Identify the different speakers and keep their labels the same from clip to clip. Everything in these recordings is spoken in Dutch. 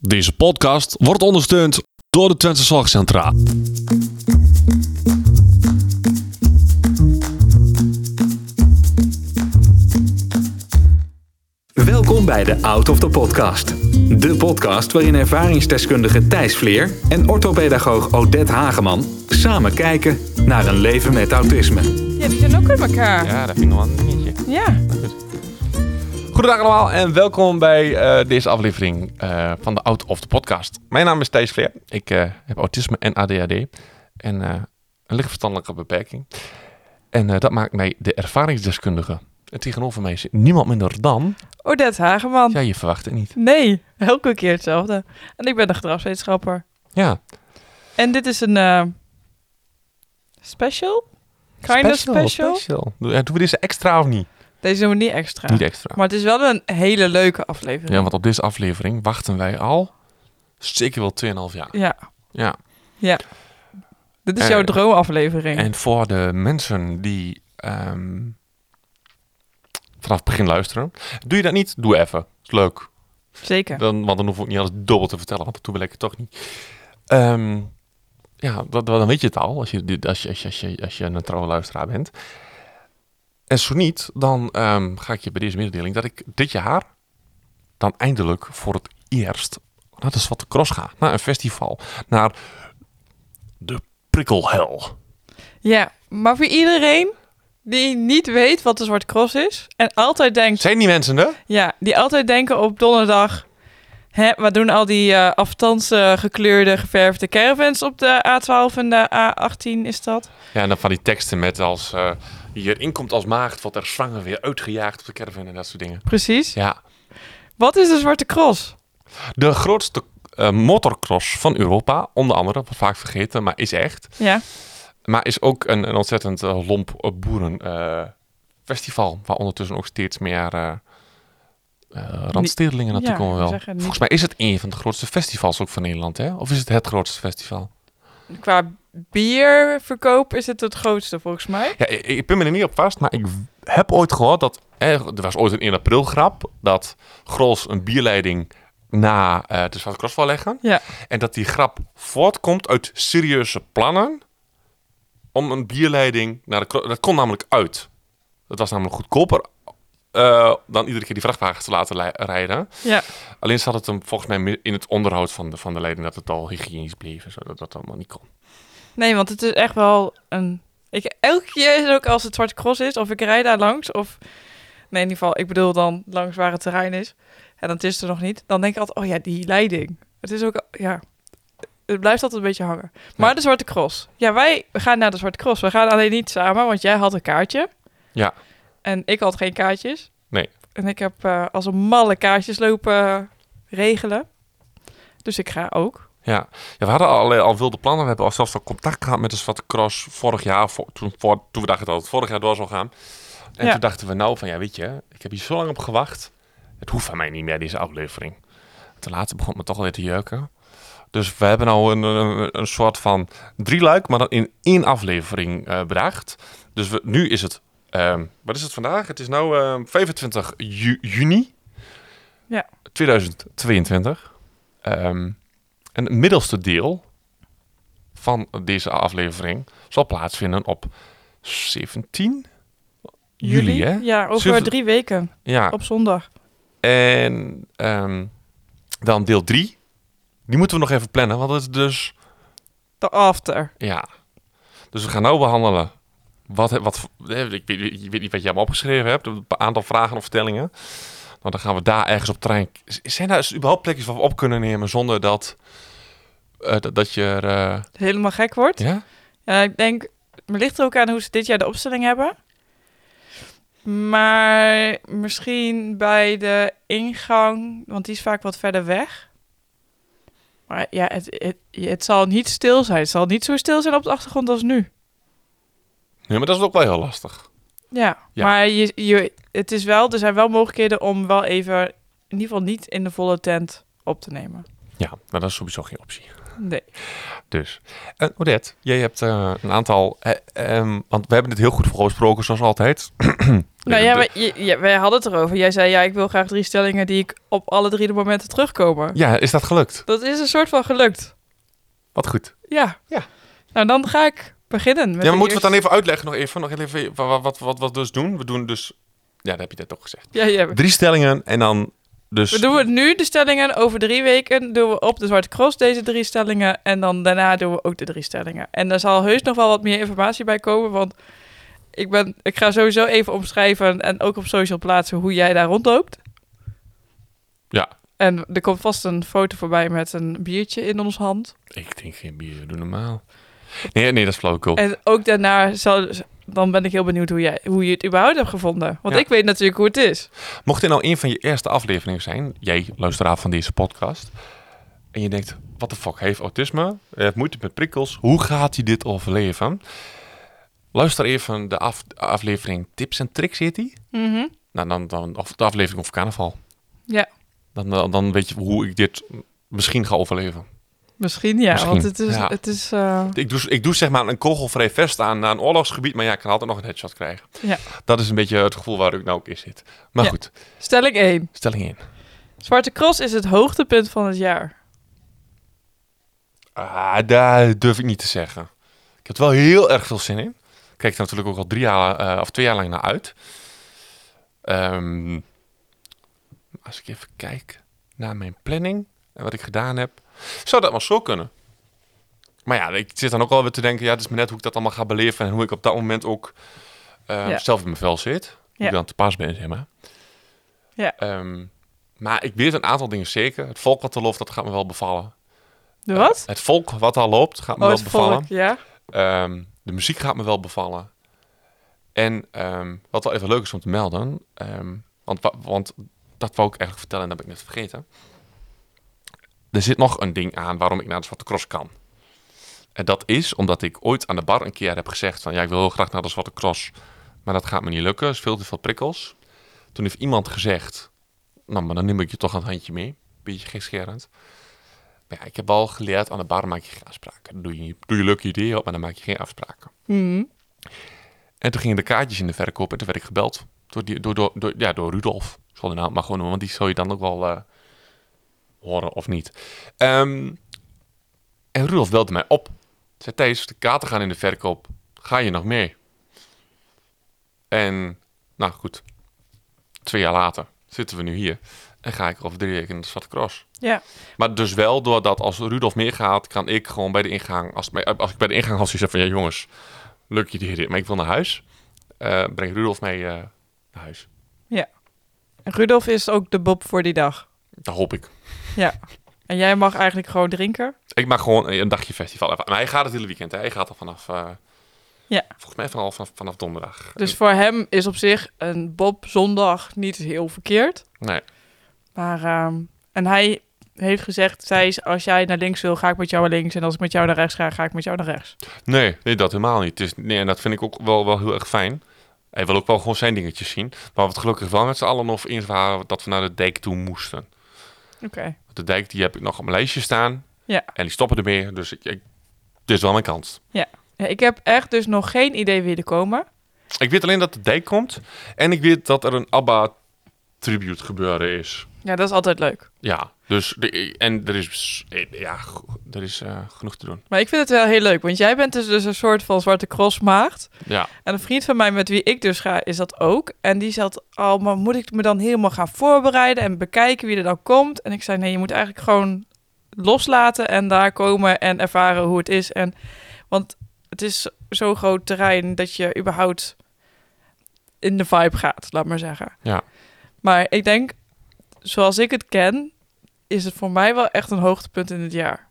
Speaker 1: Deze podcast wordt ondersteund door de Twente Zorgcentra.
Speaker 2: Welkom bij de Out of the Podcast. De podcast waarin ervaringsdeskundige Thijs Vleer en orthopedagoog Odette Hageman samen kijken naar een leven met autisme.
Speaker 3: Ja, die zijn ook uit elkaar. Ja.
Speaker 4: Ja, dat vind ik nog wel een dingetje. Goedendag allemaal en welkom bij eh, deze aflevering eh, van de Out of the Podcast. Mijn naam is Thijs Vleer. Ik eh, heb autisme en ADHD en eh, een lichtverstandelijke beperking. En eh, dat maakt mij de ervaringsdeskundige. En tegenover mij zit niemand minder dan...
Speaker 3: Odette Hageman.
Speaker 4: Ja, je verwacht het niet.
Speaker 3: Nee, elke keer hetzelfde. En ik ben de gedragswetenschapper.
Speaker 4: Ja.
Speaker 3: En dit is een eh, special? Kinda special?
Speaker 4: Doe- ja, doen we deze extra of niet?
Speaker 3: Deze doen we niet extra.
Speaker 4: Niet extra.
Speaker 3: Maar het is wel een hele leuke aflevering.
Speaker 4: Ja, want op deze aflevering wachten wij al zeker wel 2,5 jaar.
Speaker 3: Ja.
Speaker 4: Ja.
Speaker 3: Dit is
Speaker 4: Eh,
Speaker 3: jouw droomaflevering.
Speaker 4: En voor de mensen die ehm, vanaf het begin luisteren, doe je dat niet? Doe even. Is leuk.
Speaker 3: Zeker.
Speaker 4: Dan, want dan hoef ik niet alles dubbel te vertellen, want dat doen we lekker toch niet. Ehm, ja, dat, dan weet je het al, als je, dit- als je, als je, als je, als je een trouwe luisteraar bent. En zo niet, dan ehm, ga ik je bij deze mededeling dat ik dit jaar dan eindelijk voor het eerst naar de Zwarte Cross ga. Naar een festival. Naar de prikkelhel.
Speaker 3: Ja, maar voor iedereen die niet weet wat de Zwarte Cross is... en altijd denkt,
Speaker 4: Zijn die mensen er?
Speaker 3: Ja, die altijd denken op donderdag. Hè, wat doen al die eh afstands eh, gekleurde, geverfde caravans op de A12 en de A18 is dat?
Speaker 4: Ja, en dan van die teksten met als eh je erin komt als maagd, wordt er zwanger weer uitgejaagd op de caravan en dat soort dingen.
Speaker 3: Precies.
Speaker 4: Ja,
Speaker 3: Wat is de Zwarte Cross?
Speaker 4: de grootste eh, motorcross van Europa, onder andere, wordt vaak vergeten, maar is echt.
Speaker 3: Ja,
Speaker 4: Maar is ook een, een ontzettend eh, lomp eh, boeren boerenfestival, waar ondertussen ook steeds meer eh eh, randstedelingen
Speaker 3: Niet-
Speaker 4: naartoe
Speaker 3: ja,
Speaker 4: komen
Speaker 3: ik
Speaker 4: wel.
Speaker 3: wou zeggen, niet-
Speaker 4: Volgens mij is het een van de grootste festivals ook van Nederland, hè? Of is het het grootste festival?
Speaker 3: qua bierverkoop is het het grootste volgens mij.
Speaker 4: Ja, ik, ik ben me er niet op vast, maar ik w- heb ooit gehoord dat... eh, Er was ooit een 1 april grap dat Gros een bierleiding na eh de Zwarte Cross wil leggen.
Speaker 3: Ja.
Speaker 4: En dat die grap voortkomt uit serieuze plannen om een bierleiding naar de Cro- Dat kon namelijk uit. Dat was namelijk goedkoper eh, dan iedere keer die vrachtwagens te laten lei- rijden.
Speaker 3: Ja,
Speaker 4: Alleen zat het hem volgens mij meer in het onderhoud van de, van de leiding dat het al hygiënisch bleef. en zo, dat dat allemaal niet kon.
Speaker 3: nee, want het is echt wel een... Ik, elke keer is het ook als het Zwarte Cross is, of ik rijd daar langs, of... Nee, in ieder geval, ik bedoel dan langs waar het terrein is. En dan is het er nog niet. Dan denk ik altijd, oh ja, die leiding. Het is ook, ja... Het blijft altijd een beetje hangen. Maar
Speaker 4: Ja.
Speaker 3: de Zwarte Cross. Ja, wij gaan naar de Zwarte Cross. We gaan alleen niet samen, want jij had een kaartje.
Speaker 4: Ja.
Speaker 3: En ik had geen kaartjes.
Speaker 4: Nee.
Speaker 3: En ik heb eh, als een malle kaartjes lopen regelen. Dus ik ga ook.
Speaker 4: Ja. ja, we hadden al, eh, al wilde plannen. We hebben al zelfs al contact gehad met de Zwarte Cross vorig jaar. vo- toen, voor, toen we dachten dat het vorig jaar door zou gaan. En
Speaker 3: Ja.
Speaker 4: toen dachten we, nou van ja, weet je, ik heb hier zo lang op gewacht. Het hoeft van mij niet meer, deze aflevering. Ten laatste begon het me toch alweer te jeuken. Dus we hebben nou een, een, een soort van drieluik, maar dan in één aflevering eh bedacht. Dus we, nu is het, ehm, wat is het vandaag? Het is nu 25 ju- juni
Speaker 3: Ja.
Speaker 4: 2022. Ehm, en het middelste deel van deze aflevering zal plaatsvinden op 17 juli, hè? Ah.
Speaker 3: Ja, over
Speaker 4: Zullen we-
Speaker 3: drie weken.
Speaker 4: Ja,
Speaker 3: Op zondag.
Speaker 4: en ehm, dan deel 3. Die moeten we nog even plannen, want het is dus...
Speaker 3: De after.
Speaker 4: Ja. Dus we gaan nou behandelen. Wat, he- wat, voor- eh, ik, weet, ik weet niet wat jij me opgeschreven hebt. Een aantal vragen of stellingen. Nou, dan gaan we daar ergens op trein. Z- Zijn daar überhaupt plekjes waar we op kunnen nemen zonder dat, eh, dat, dat je... er, eh,
Speaker 3: Helemaal gek wordt.
Speaker 4: ja?
Speaker 3: Ja, ik denk, het ligt er ook aan hoe ze dit jaar de opstelling hebben. Maar misschien bij de ingang, want die is vaak wat verder weg. Maar ja, het, het, het zal niet stil zijn. Het zal niet zo stil zijn op de achtergrond als nu.
Speaker 4: Nee, maar dat is ook wel heel lastig.
Speaker 3: Ja,
Speaker 4: Ja.
Speaker 3: maar je, je, het is wel, er zijn wel mogelijkheden om wel even, in ieder geval niet in de volle tent op te nemen.
Speaker 4: Ja, nou, dat is sowieso geen optie.
Speaker 3: Nee.
Speaker 4: Dus. En Odette, eh, jij hebt eh, een aantal. eh, ehm, want we hebben dit heel goed voorgesproken, zoals altijd.
Speaker 3: Nou ja, maar je- je- wij hadden het erover. Jij zei, ja, ik wil graag drie stellingen die ik op alle drie de momenten terugkomen.
Speaker 4: Ja, is dat gelukt?
Speaker 3: Dat is een soort van gelukt.
Speaker 4: Wat goed.
Speaker 3: Ja.
Speaker 4: Ja.
Speaker 3: Nou, dan ga ik beginnen. Met
Speaker 4: Ja, maar
Speaker 3: de
Speaker 4: moeten we het dan
Speaker 3: eerste-
Speaker 4: even uitleggen nog even? Nog even wa- wa- wat, wat, wat, we dus doen? We doen dus... Ja, dat heb je net toch gezegd.
Speaker 3: Ja, ja.
Speaker 4: Drie stellingen en dan dus...
Speaker 3: We doen het nu, de stellingen. Over drie weken doen we op de Zwarte Cross deze drie stellingen. En dan daarna doen we ook de drie stellingen. En daar zal heus nog wel wat meer informatie bij komen. Want ik, ben, ik ga sowieso even omschrijven en ook op social plaatsen hoe jij daar rondloopt.
Speaker 4: Ja.
Speaker 3: En er komt vast een foto voorbij met een biertje in ons hand.
Speaker 4: Ik drink geen bier, doe normaal. Nee, nee, dat is flauwekul.
Speaker 3: En ook daarna zal, dan ben ik heel benieuwd hoe, jij, hoe je het überhaupt hebt gevonden. Want
Speaker 4: Ja.
Speaker 3: ik weet natuurlijk hoe het is.
Speaker 4: Mocht dit nou een van je eerste afleveringen zijn, jij luisteraar van deze podcast, en je denkt, wat de fuck, hij heeft autisme, hij heeft moeite met prikkels, hoe gaat hij dit overleven? Luister even de af- aflevering Tips en Tricks, heet die?
Speaker 3: Mhm.
Speaker 4: Nou, dan, dan, of de aflevering over carnaval.
Speaker 3: Ja.
Speaker 4: Dan, dan, dan weet je hoe ik dit misschien ga overleven.
Speaker 3: Misschien ja,
Speaker 4: Misschien,
Speaker 3: want het is...
Speaker 4: ja.
Speaker 3: Het is eh,
Speaker 4: Ik doe, ik doe zeg maar een kogelvrij vest aan naar een oorlogsgebied, maar ja, ik kan altijd nog een headshot krijgen.
Speaker 3: Ja.
Speaker 4: Dat is een beetje het gevoel waar ik nou ook in zit. Maar
Speaker 3: Ja.
Speaker 4: goed,
Speaker 3: Stelling 1.
Speaker 4: stelling 1.
Speaker 3: Zwarte Cross is het hoogtepunt van het jaar.
Speaker 4: Ah, daar durf ik niet te zeggen. Ik heb er wel heel erg veel zin in. Ik kijk er natuurlijk ook al drie jaar eh, of twee jaar lang naar uit. Ehm, als ik even kijk naar mijn planning en wat ik gedaan heb, zou dat maar zo kunnen. Maar ja, ik zit dan ook alweer te denken, ja, het is maar net hoe ik dat allemaal ga beleven en hoe ik op dat moment ook eh,
Speaker 3: Ja.
Speaker 4: zelf in mijn vel zit. Hoe
Speaker 3: Ja.
Speaker 4: ik dan te pas ben, zeg maar.
Speaker 3: Ja.
Speaker 4: Ehm, maar ik weet een aantal dingen zeker. Het volkkataloof, dat gaat me wel bevallen.
Speaker 3: De wat?
Speaker 4: Het volk wat daar loopt gaat me
Speaker 3: Oh,
Speaker 4: wel
Speaker 3: het volk,
Speaker 4: bevallen.
Speaker 3: ja.
Speaker 4: Ehm, de muziek gaat me wel bevallen. En ehm, wat wel even leuk is om te melden, ehm, want, wa- want dat wou ik eigenlijk vertellen en dat heb ik net vergeten. Er zit nog een ding aan waarom ik naar de Zwarte Cross kan. En dat is omdat ik ooit aan de bar een keer heb gezegd van ja, ik wil heel graag naar de Zwarte Cross, maar dat gaat me niet lukken, er is veel te veel prikkels. Toen heeft iemand gezegd, nou maar dan neem ik je toch een handje mee, beetje gekscherend. Maar ja, ik heb al geleerd, aan de bar maak je geen afspraken. Dan doe je, doe je leuke ideeën op, maar dan maak je geen afspraken.
Speaker 3: Mhm.
Speaker 4: En toen gingen de kaartjes in de verkoop en toen werd ik gebeld. Door, die, door, door, door, ja, door Rudolf. Ik zal de naam maar gewoon noemen, want die zou je dan ook wel eh, horen of niet. Ehm, en Rudolf belde mij op. Zei Thijs, de kaarten gaan in de verkoop. Ga je nog mee? En, nou goed. Twee jaar later zitten we nu hier. En ga ik over drie weken naar de Zwarte Cross.
Speaker 3: Ja,
Speaker 4: Maar dus wel doordat als Rudolf meegaat, kan ik gewoon bij de ingang... Als, het mij- als ik bij de ingang had zoiets van... Ja, jongens, leuk idee dit, maar ik wil naar huis. eh, breng Rudolf mee eh, naar huis.
Speaker 3: en Rudolf is ook de Bob voor die dag.
Speaker 4: Dat hoop ik.
Speaker 3: En jij mag eigenlijk gewoon drinken.
Speaker 4: Ik maak gewoon een dagje festival. Maar hij gaat het hele weekend. Hè. Hij gaat al vanaf... eh,
Speaker 3: Ja.
Speaker 4: Volgens mij vanaf, vanaf, vanaf donderdag.
Speaker 3: Dus voor hem is op zich een Bob zondag niet heel verkeerd.
Speaker 4: Nee.
Speaker 3: Maar, ehm, en hij heeft gezegd, Thijs, als jij naar links wil, ga ik met jou naar links. En als ik met jou naar rechts ga, ga ik met jou naar rechts.
Speaker 4: Nee, nee, dat helemaal niet. Het is, nee, en dat vind ik ook wel, wel heel erg fijn. Hij wil ook wel gewoon zijn dingetjes zien. Maar wat gelukkig wel met z'n allen nog eens waren... dat we naar de dijk toe moesten.
Speaker 3: Oké.
Speaker 4: De dijk die heb ik nog op mijn lijstje staan.
Speaker 3: Ja.
Speaker 4: En die stoppen ermee. Dus ik, ik, dit is wel mijn kans.
Speaker 3: Ja, Ik heb echt dus nog geen idee wie er komen.
Speaker 4: Ik weet alleen dat de dijk komt. En ik weet dat er een ABBA tribute gebeuren is.
Speaker 3: Ja, dat is altijd leuk.
Speaker 4: Ja, dus de, en er is, ja, go- er is eh, genoeg te doen.
Speaker 3: Maar ik vind het wel heel leuk, want jij bent dus, dus een soort van zwarte cross maagd.
Speaker 4: Ja,
Speaker 3: En een vriend van mij met wie ik dus ga, is dat ook. En die zat al, maar moet ik me dan helemaal gaan voorbereiden en bekijken wie er dan komt? En ik zei, nee, je moet eigenlijk gewoon loslaten en daar komen en ervaren hoe het is. En, want het is zo'n groot terrein dat je überhaupt in de vibe gaat, laat maar zeggen.
Speaker 4: Ja.
Speaker 3: Maar ik denk, zoals ik het ken, is het voor mij wel echt een hoogtepunt in het jaar.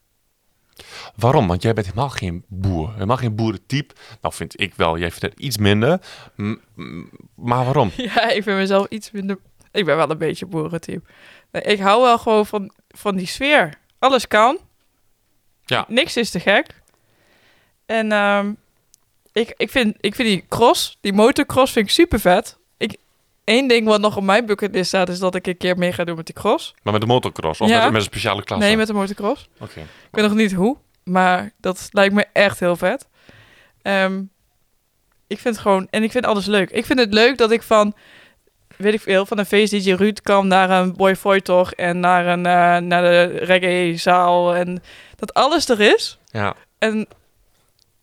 Speaker 4: waarom? Want jij bent helemaal geen boer. Helemaal geen boerentype. Nou vind ik wel, jij vindt het iets minder. M- m- maar waarom?
Speaker 3: Ja, ik vind mezelf iets minder. Ik ben wel een beetje boerentype. Nee, Ik hou wel gewoon van, van die sfeer. Alles kan.
Speaker 4: Ja.
Speaker 3: Niks is te gek. En ehm, ik, ik, vind, ik vind die cross, die motocross, vind ik super vet. Ik, één ding wat nog op mijn bucketlist staat, is dat ik een keer mee ga doen met die cross.
Speaker 4: Maar met de motocross of
Speaker 3: Ja.
Speaker 4: met, met een speciale klasse?
Speaker 3: Nee, met de motocross.
Speaker 4: Oké.
Speaker 3: Ik weet nog niet hoe, maar dat lijkt me echt heel vet. Ehm, Ik vind het gewoon... En ik vind alles leuk. Ik vind het leuk dat ik van... Weet ik veel, van een feest DJ Ruud kan naar een Boy Voigt-tocht en naar, een, eh, naar de reggae-zaal. En dat alles er is.
Speaker 4: Ja.
Speaker 3: En,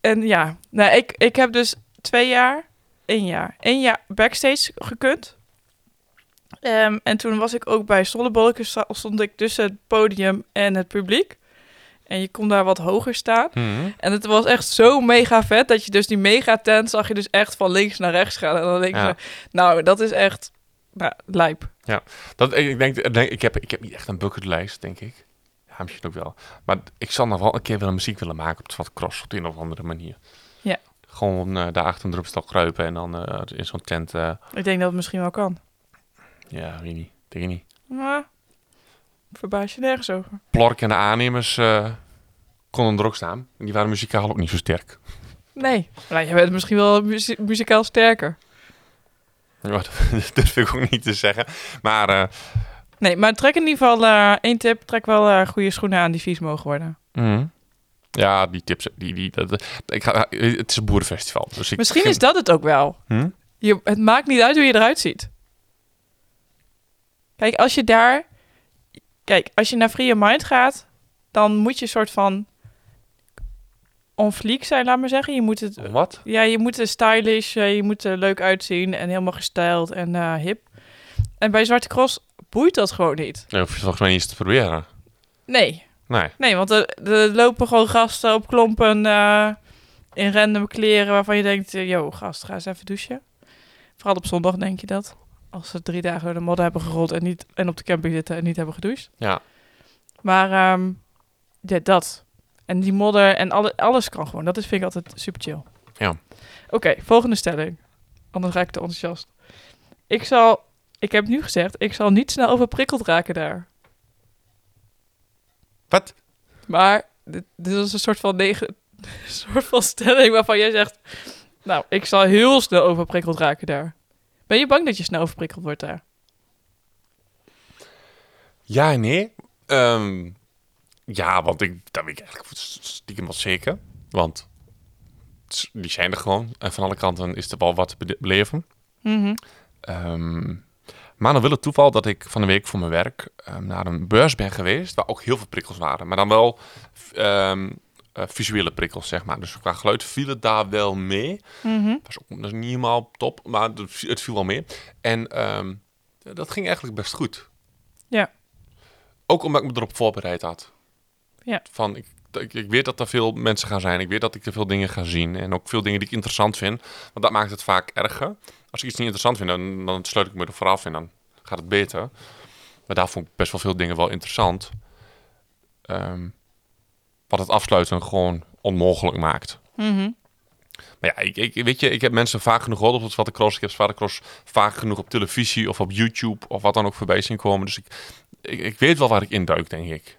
Speaker 3: en ja, nou, ik, ik heb dus twee jaar, één jaar, één jaar backstage gekund. Ehm, en toen was ik ook bij Stollebolken, sta- stond ik tussen het podium en het publiek. En je kon daar wat hoger staan.
Speaker 4: Mhm.
Speaker 3: En het was echt zo mega vet dat je dus die mega tent zag je dus echt van links naar rechts gaan. En dan denk je,
Speaker 4: Ja.
Speaker 3: nou, dat is echt nou, lijp.
Speaker 4: Dat, ik, ik denk, ik, denk- ik, heb, ik heb niet echt een bucketlijst, denk ik. Ja, misschien ook wel. Maar ik zal nog wel een keer willen muziek willen maken op het cross op de een of andere manier.
Speaker 3: Ja.
Speaker 4: Gewoon eh, daar achter een drupstok kruipen en dan eh, in zo'n tent. eh,
Speaker 3: Ik denk dat het misschien wel kan.
Speaker 4: ja, weet niet. Denk ik niet.
Speaker 3: Maar verbaas je nergens over.
Speaker 4: Plork en de aannemers eh, konden er ook staan. En die waren muzikaal ook niet zo sterk.
Speaker 3: Nee. Nou, je bent misschien wel muzie- muzikaal sterker.
Speaker 4: Ja, dat durf ik ook niet te zeggen. Maar eh,
Speaker 3: Nee, maar trek in ieder geval eh, één tip. Trek wel eh, goede schoenen aan die vies mogen worden.
Speaker 4: mhm. ja, die tips. Die, die, dat, ik ga, het is een boerenfestival. Dus ik
Speaker 3: Misschien
Speaker 4: vind-
Speaker 3: is dat het ook wel.
Speaker 4: Hm?
Speaker 3: Je, het maakt niet uit hoe je eruit ziet. Kijk, als je daar... Kijk, als je naar Free Your Mind gaat... dan moet je een soort van... on fleek zijn, laat maar zeggen. Je moet het...
Speaker 4: Wat?
Speaker 3: Ja, je moet er stylish, eh, je moet er leuk uitzien... en helemaal gestyled en eh, hip. En bij Zwarte Cross boeit dat gewoon niet.
Speaker 4: Nee, hoef je volgens mij niet eens te proberen.
Speaker 3: Nee.
Speaker 4: Nee.
Speaker 3: Nee, want er, er lopen gewoon gasten op klompen eh, in random kleren waarvan je denkt, eh, yo gast, ga eens even douchen. Vooral op zondag denk je dat. Als ze drie dagen door de modder hebben gerold en, niet, en op de camping zitten en niet hebben gedoucht.
Speaker 4: Ja.
Speaker 3: Maar ehm, ja, dat. En die modder en alle, alles kan gewoon. Dat is, vind ik altijd super chill.
Speaker 4: Ja.
Speaker 3: Oké, volgende stelling. Anders raak ik te enthousiast. Ik zal, ik heb nu gezegd, ik zal niet snel overprikkeld raken daar.
Speaker 4: Wat?
Speaker 3: Maar dit, dit was een soort van, neg- soort van stelling waarvan jij zegt... Nou, ik zal heel snel overprikkeld raken daar. Ben je bang dat je snel overprikkeld wordt daar?
Speaker 4: Ja en nee. Ehm, ja, want ik, dat weet ik eigenlijk stiekem wel zeker. Want s- die zijn er gewoon. En van alle kanten is er wel wat te bede- beleven. Ehm, maar dan wil het toeval dat ik van de week voor mijn werk ehm, naar een beurs ben geweest... waar ook heel veel prikkels waren. Maar dan wel f- ehm, eh, visuele prikkels, zeg maar. Dus qua geluid viel het daar wel mee. was ook dat is niet helemaal top, maar het viel- het viel wel mee. En ehm, dat ging eigenlijk best goed.
Speaker 3: Ja.
Speaker 4: Ook omdat ik me erop voorbereid had.
Speaker 3: Ja.
Speaker 4: Van, ik, ik, ik weet dat er veel mensen gaan zijn. Ik weet dat ik er veel dingen ga zien. En ook veel dingen die ik interessant vind. Want dat maakt het vaak erger. Als ik iets niet interessant vind, dan, dan sluit ik me er vooraf en dan gaat het beter. Maar daar vond ik best wel veel dingen wel interessant. Ehm, wat het afsluiten gewoon onmogelijk maakt. Maar ja, ik, ik, weet je, ik heb mensen vaak genoeg gehoord op het Zwarte Cross. Ik heb Zwarte Cross vaak genoeg op televisie of op YouTube of wat dan ook voorbij zien komen. Dus ik, ik, ik weet wel waar ik induik, denk ik.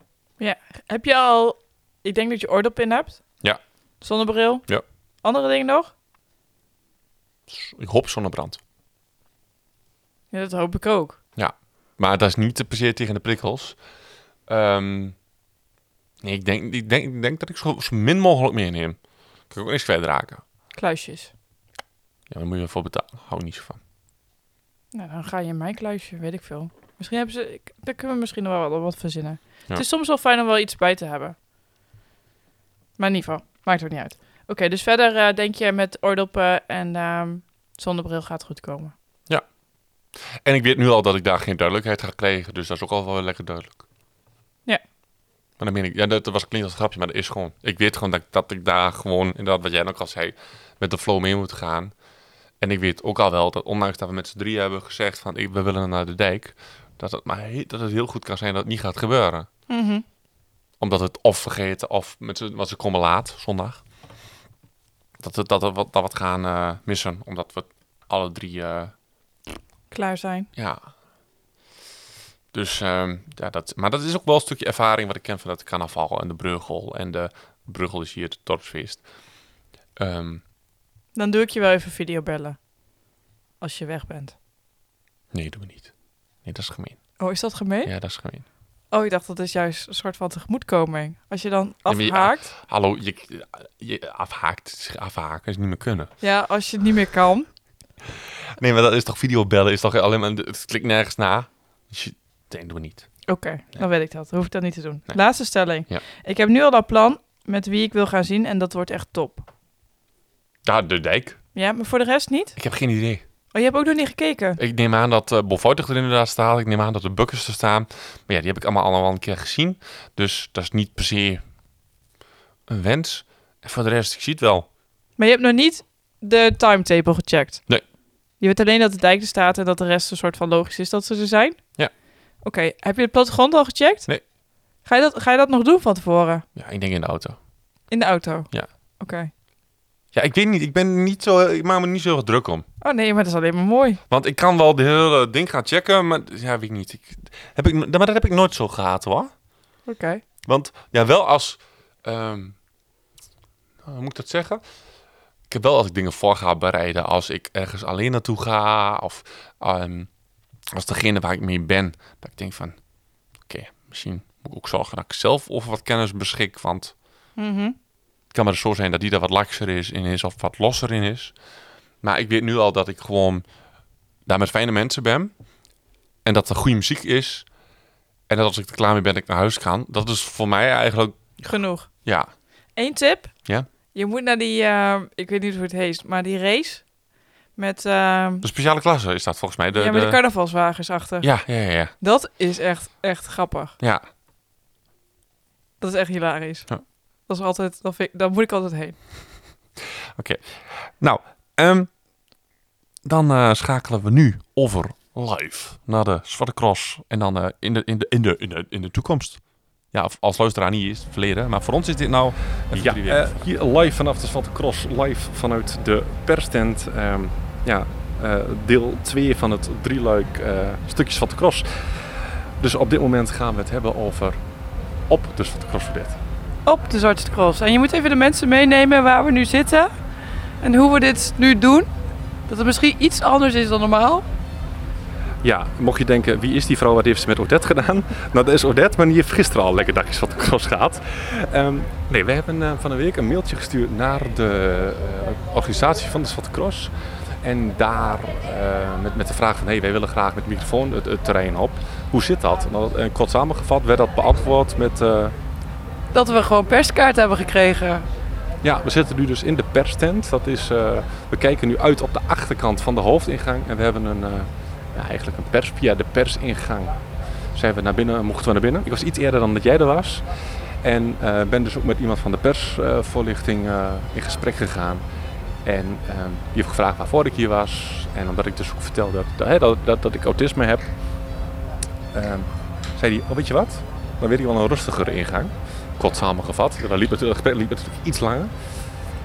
Speaker 3: Heb je al... Ik denk dat je oordop in hebt.
Speaker 4: Ja.
Speaker 3: Zonnebril.
Speaker 4: Ja.
Speaker 3: Andere dingen nog?
Speaker 4: Dus ik hoop zonnebrand.
Speaker 3: Ja, dat hoop ik ook.
Speaker 4: Maar dat is niet te per se tegen de prikkels. Ehm, nee, ik denk, ik, denk, ik denk dat ik zo, zo min mogelijk meeneem. Kan ik ook niks verder raken.
Speaker 3: Kluisjes.
Speaker 4: Ja, daar moet je wel voor betalen. Hou ik niet zo van.
Speaker 3: Nou, dan ga je in mijn kluisje, weet ik veel. Misschien hebben ze... ik- Daar kunnen we misschien nog wel wat- wat verzinnen.
Speaker 4: Ja.
Speaker 3: Het is soms wel fijn om wel iets bij te hebben. Maar in ieder geval, maakt ook niet uit. Oké, dus verder eh, denk je met oordoppen en ehm, zonnebril gaat goed komen.
Speaker 4: En ik weet nu al dat ik daar geen duidelijkheid ga krijgen. Dus dat is ook al wel lekker duidelijk.
Speaker 3: Ja.
Speaker 4: Maar dan meen ik, ja, dat was klinkt als een grapje, maar dat is gewoon. Ik weet gewoon dat, ik- dat ik daar gewoon, inderdaad, wat jij ook al zei, met de flow mee moet gaan. En ik weet ook al wel dat, ondanks dat we met z'n drieën hebben gezegd van ik, we willen naar de dijk, dat het, maar he- dat het heel goed kan zijn dat het niet gaat gebeuren.
Speaker 3: Mhm.
Speaker 4: Omdat het of vergeten of met z'n, want ze komen laat zondag. Dat, het, dat, we wat, dat we het gaan eh, missen, omdat we alle drie. eh,
Speaker 3: Klaar zijn.
Speaker 4: ja. Dus, ehm, ja, dat, maar dat is ook wel een stukje ervaring wat ik ken van dat carnaval en de Bruggel. En de Bruggel is hier het dorpsfeest. Ehm,
Speaker 3: Dan doe ik je wel even videobellen. Als je weg bent.
Speaker 4: nee, doen we niet. Nee, dat is gemeen.
Speaker 3: Oh, is dat gemeen?
Speaker 4: Ja, dat is gemeen.
Speaker 3: Oh, ik dacht dat is juist een soort van tegemoetkoming. Als je dan
Speaker 4: maar je- Ah.
Speaker 3: afhaakt,
Speaker 4: Hallo, je, je afhaakt, het is afhaken is niet meer kunnen.
Speaker 3: ja, als je het niet meer kan.
Speaker 4: Nee, maar dat is toch videobellen? Is toch alleen maar, het klikt nergens na. Dus je, nee, doen we niet.
Speaker 3: Oké, dan weet ik dat. Dan hoef ik dat niet te doen.
Speaker 4: Nee.
Speaker 3: Laatste stelling.
Speaker 4: Ja.
Speaker 3: Ik heb nu al dat plan met wie ik wil gaan zien en dat wordt echt top.
Speaker 4: Ja, de dijk.
Speaker 3: Ja, maar voor de rest niet?
Speaker 4: Ik heb geen idee.
Speaker 3: Oh, je hebt ook nog niet gekeken?
Speaker 4: Ik neem aan dat eh Bolvoortig er inderdaad staat. Ik neem aan dat de Bukkers er staan. Maar ja, die heb ik allemaal allemaal een keer gezien. Dus dat is niet per se een wens. En voor de rest, ik zie het wel.
Speaker 3: Maar je hebt nog niet de timetable gecheckt?
Speaker 4: Nee.
Speaker 3: Je weet alleen dat de dijk er staat en dat de rest een soort van logisch is dat ze er zijn?
Speaker 4: Ja.
Speaker 3: Oké, heb je het plattegrond al gecheckt?
Speaker 4: Nee.
Speaker 3: Ga je, dat, ga je dat nog doen van tevoren?
Speaker 4: Ja, ik denk in de auto.
Speaker 3: In de auto?
Speaker 4: Ja.
Speaker 3: Oké.
Speaker 4: Ja, ik weet niet. Ik, ben niet zo, ik maak me niet zo heel erg druk om.
Speaker 3: Oh nee, maar dat is alleen maar mooi.
Speaker 4: Want ik kan wel de hele ding gaan checken. Maar ja, weet ik niet. Ik, heb ik, maar dat heb ik nooit zo gehad hoor.
Speaker 3: Oké.
Speaker 4: Want ja, wel als. ehm, hoe moet ik dat zeggen? Ik heb wel als ik dingen voor ga bereiden. Als ik ergens alleen naartoe ga. Of ehm, als degene waar ik mee ben. Dat ik denk van. Oké, misschien moet ik ook zorgen dat ik zelf over wat kennis beschik. Want
Speaker 3: Mhm.
Speaker 4: het kan maar zo zijn dat die daar wat lakser is in is. Of wat losser in is. Maar ik weet nu al dat ik gewoon daar met fijne mensen ben. En dat er goede muziek is. En dat als ik er klaar mee ben, dat ik naar huis ga. Dat is voor mij eigenlijk
Speaker 3: Genoeg.
Speaker 4: ja,
Speaker 3: Eén tip.
Speaker 4: Ja.
Speaker 3: Je moet naar die, eh, ik weet niet hoe het heet, maar die race met, ehm,
Speaker 4: de speciale klasse is dat volgens mij. Dus De,
Speaker 3: ja, met de
Speaker 4: de-
Speaker 3: carnavalswagens achter.
Speaker 4: ja, ja, ja, ja,
Speaker 3: Dat is echt, echt grappig.
Speaker 4: ja.
Speaker 3: Dat is echt hilarisch.
Speaker 4: Ja.
Speaker 3: Dat is altijd, dat vind ik, daar moet ik altijd heen.
Speaker 4: Nou, ehm, dan eh, schakelen we nu over live naar de Zwarte Cross. En dan eh, in, de, in, de, in, de, in, de, in de toekomst. Ja, of als luisteraar niet is, het verleden. Maar voor ons is dit nou... even
Speaker 5: Ja,
Speaker 4: jullie weer.
Speaker 5: eh, hier live vanaf de Zwarte Cross, live vanuit de perstent. ehm, ja, eh, deel 2 van het drieluik eh stukje Zwarte Cross. Dus op dit moment gaan we het hebben over op de Zwarte Cross Vedette.
Speaker 3: Op de Zwarte Cross. En je moet even de mensen meenemen waar we nu zitten. En hoe we dit nu doen. Dat het misschien iets anders is dan normaal.
Speaker 5: Ja, mocht je denken, wie is die vrouw, wat heeft ze met Odette gedaan? Nou, dat is Odette, maar die heeft gisteren al lekker dagjes van de cross gehad. Ehm, nee, we hebben eh, van een week een mailtje gestuurd naar de eh, organisatie van de Zwarte Cross. En daar eh, met, met de vraag van, hé, hey, wij willen graag met de microfoon het, het terrein op. Hoe zit dat? Nou, dat- eh, kort samengevat werd dat beantwoord met... eh,
Speaker 3: Dat we gewoon perskaart hebben gekregen.
Speaker 5: ja, we zitten nu dus in de perstent. Dat is, eh, we kijken nu uit op de achterkant van de hoofdingang. En we hebben een, eh, ja, eigenlijk een pers via de persingang. Zijn we naar binnen, mochten we naar binnen. Ik was iets eerder dan dat jij er was. En eh, ben dus ook met iemand van de persvoorlichting eh, in gesprek gegaan. En eh, die heeft gevraagd waarvoor ik hier was. En omdat ik dus ook vertelde dat, hè, dat, dat, dat ik autisme heb. eh, zei hij, oh, weet je wat? Dan weet ik wel een rustigere ingang. Kort samengevat. Dan liep het, het gesprek liep natuurlijk iets langer.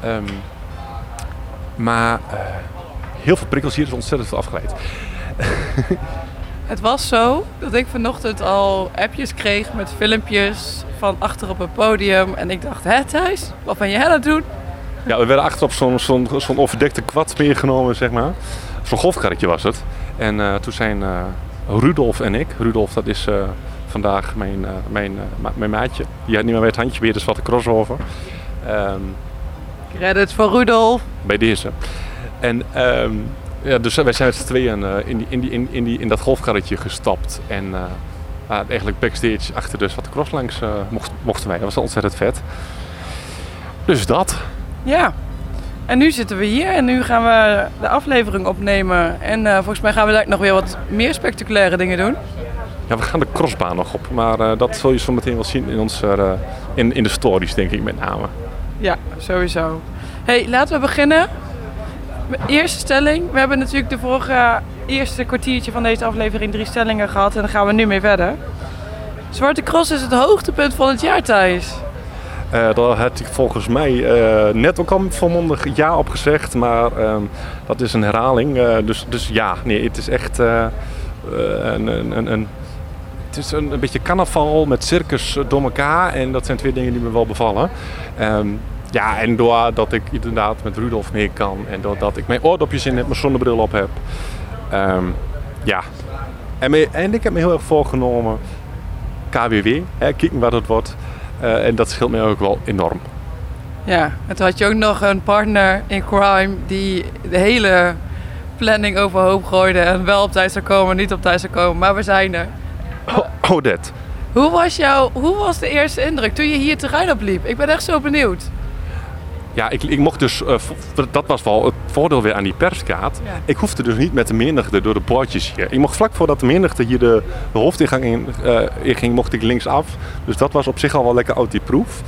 Speaker 5: Ehm, maar eh, heel veel prikkels hier is ontzettend veel afgeleid.
Speaker 3: Het was zo dat ik vanochtend al appjes kreeg met filmpjes van achter op een podium. En ik dacht, hè Thijs, wat ben jij aan het doen?
Speaker 5: Ja, we werden achterop zo'n zo'n zo'n overdekte kwad meegenomen, zeg maar. Zo'n golfkarretje was het. En eh, toen zijn eh, Rudolf en ik... Rudolf, dat is eh, vandaag mijn, eh, mijn, eh, ma- mijn maatje. Die had niet meer bij het handje weer, dus wat een crossover. Ehm,
Speaker 3: Credit voor Rudolf.
Speaker 5: bij deze. En ehm, ja, dus wij zijn met z'n tweeën eh, in, die, in, die, in, in, die, in dat golfkarretje gestapt. En eh, ah, eigenlijk backstage achter de Zwarte Cross langs eh, mocht- mochten wij. Dat was ontzettend vet. Dus dat.
Speaker 3: Ja. En nu zitten we hier en nu gaan we de aflevering opnemen. En eh, volgens mij gaan we daar nog weer wat meer spectaculaire dingen doen.
Speaker 5: Ja, we gaan de crossbaan nog op. Maar eh, dat zul je zo meteen wel zien in, onze, eh, in, in de stories, denk ik met name.
Speaker 3: Ja, sowieso. hey, laten we beginnen. Mijn Eerste stelling. We hebben natuurlijk de vorige eerste kwartiertje van deze aflevering drie stellingen gehad. En daar gaan we nu mee verder. Zwarte Cross is het hoogtepunt van het jaar, Thijs.
Speaker 5: Eh daar had ik volgens mij eh, net ook al volmondig ja op gezegd, maar ehm, dat is een herhaling. eh, dus, dus ja, nee, het is echt eh, eh, een, een, een, een- het is een, een beetje carnaval met circus eh, door elkaar. En dat zijn twee dingen die me wel bevallen. Ehm, ja, en doordat ik inderdaad met Rudolf mee kan en doordat ik mijn oordopjes in heb, mijn zonnebril op heb. Ehm, ja. En, me- en ik heb me heel erg voorgenomen KWW, hè, kijken wat het wordt. Eh, en dat scheelt mij ook wel enorm.
Speaker 3: Ja, en toen had je ook nog een partner in crime die de hele planning overhoop gooide. En wel op tijd zou komen, niet op tijd zou komen, maar we zijn er.
Speaker 5: Oh, dat.
Speaker 3: Hoe was, jouw, hoe was de eerste indruk toen je hier terrein opliep? Ik ben echt zo benieuwd.
Speaker 5: Ja, ik, ik mocht dus, eh, vo- dat was wel het voordeel weer aan die perskaart.
Speaker 3: Ja.
Speaker 5: Ik hoefde dus niet met de menigte door de bordjes hier. Ik mocht vlak voordat de menigte hier de, de hoofdingang in, eh, in ging, mocht ik linksaf. Dus dat was op zich al wel lekker outieproof.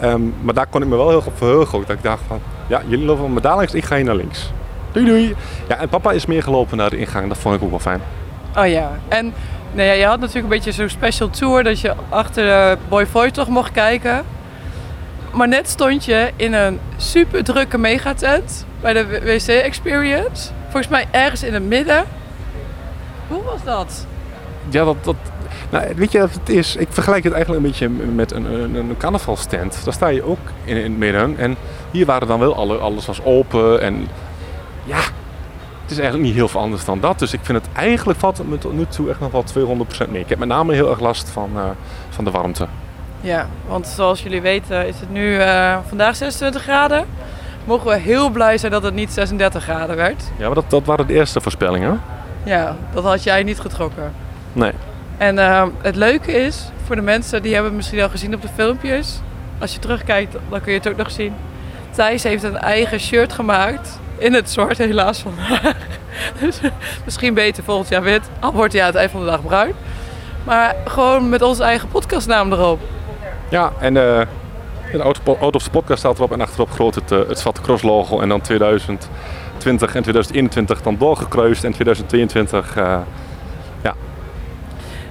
Speaker 5: Ehm maar daar kon ik me wel heel goed verheugen ook. Dat ik dacht van, ja, jullie lopen me daar langs, ik ga hier naar links. Doei doei. Ja, en papa is meegelopen naar de ingang. Dat vond ik ook wel fijn.
Speaker 3: Oh ja, en nou ja, je had natuurlijk een beetje zo'n special tour dat je achter de Boy Voice toch mocht kijken. Maar net stond je in een super drukke megatent bij de w- WC Experience. Volgens mij ergens in het midden. Hoe was dat?
Speaker 5: Ja, dat... dat nou, weet je wat het is? Ik vergelijk het eigenlijk een beetje met een, een, een carnavalstent. Daar sta je ook in, in het midden. En hier waren dan wel alle, alles was open. En ja, het is eigenlijk niet heel veel anders dan dat. Dus ik vind het eigenlijk valt het me tot nu toe echt nog wel 200% mee. Ik heb met name heel erg last van, eh, van de warmte.
Speaker 3: Ja, want zoals jullie weten is het nu eh, vandaag 26 graden. Mogen we heel blij zijn dat het niet 36 graden werd.
Speaker 5: Ja, maar dat, dat waren de eerste voorspellingen.
Speaker 3: Ja, dat had jij niet getrokken.
Speaker 5: Nee.
Speaker 3: En ehm, het leuke is, voor de mensen die hebben het misschien al gezien op de filmpjes. Als je terugkijkt, dan kun je het ook nog zien. Thijs heeft een eigen shirt gemaakt. In het zwart helaas vandaag. Dus misschien beter volgend jaar wit. Al wordt hij aan het eind van de dag bruin. Maar gewoon met onze eigen podcastnaam erop.
Speaker 5: Ja, en eh in de auto, auto of the podcast staat erop en achterop groot het, eh, het Zwarte Cross logo. En dan 2020 en 2021 dan doorgekruist en 2022... eh,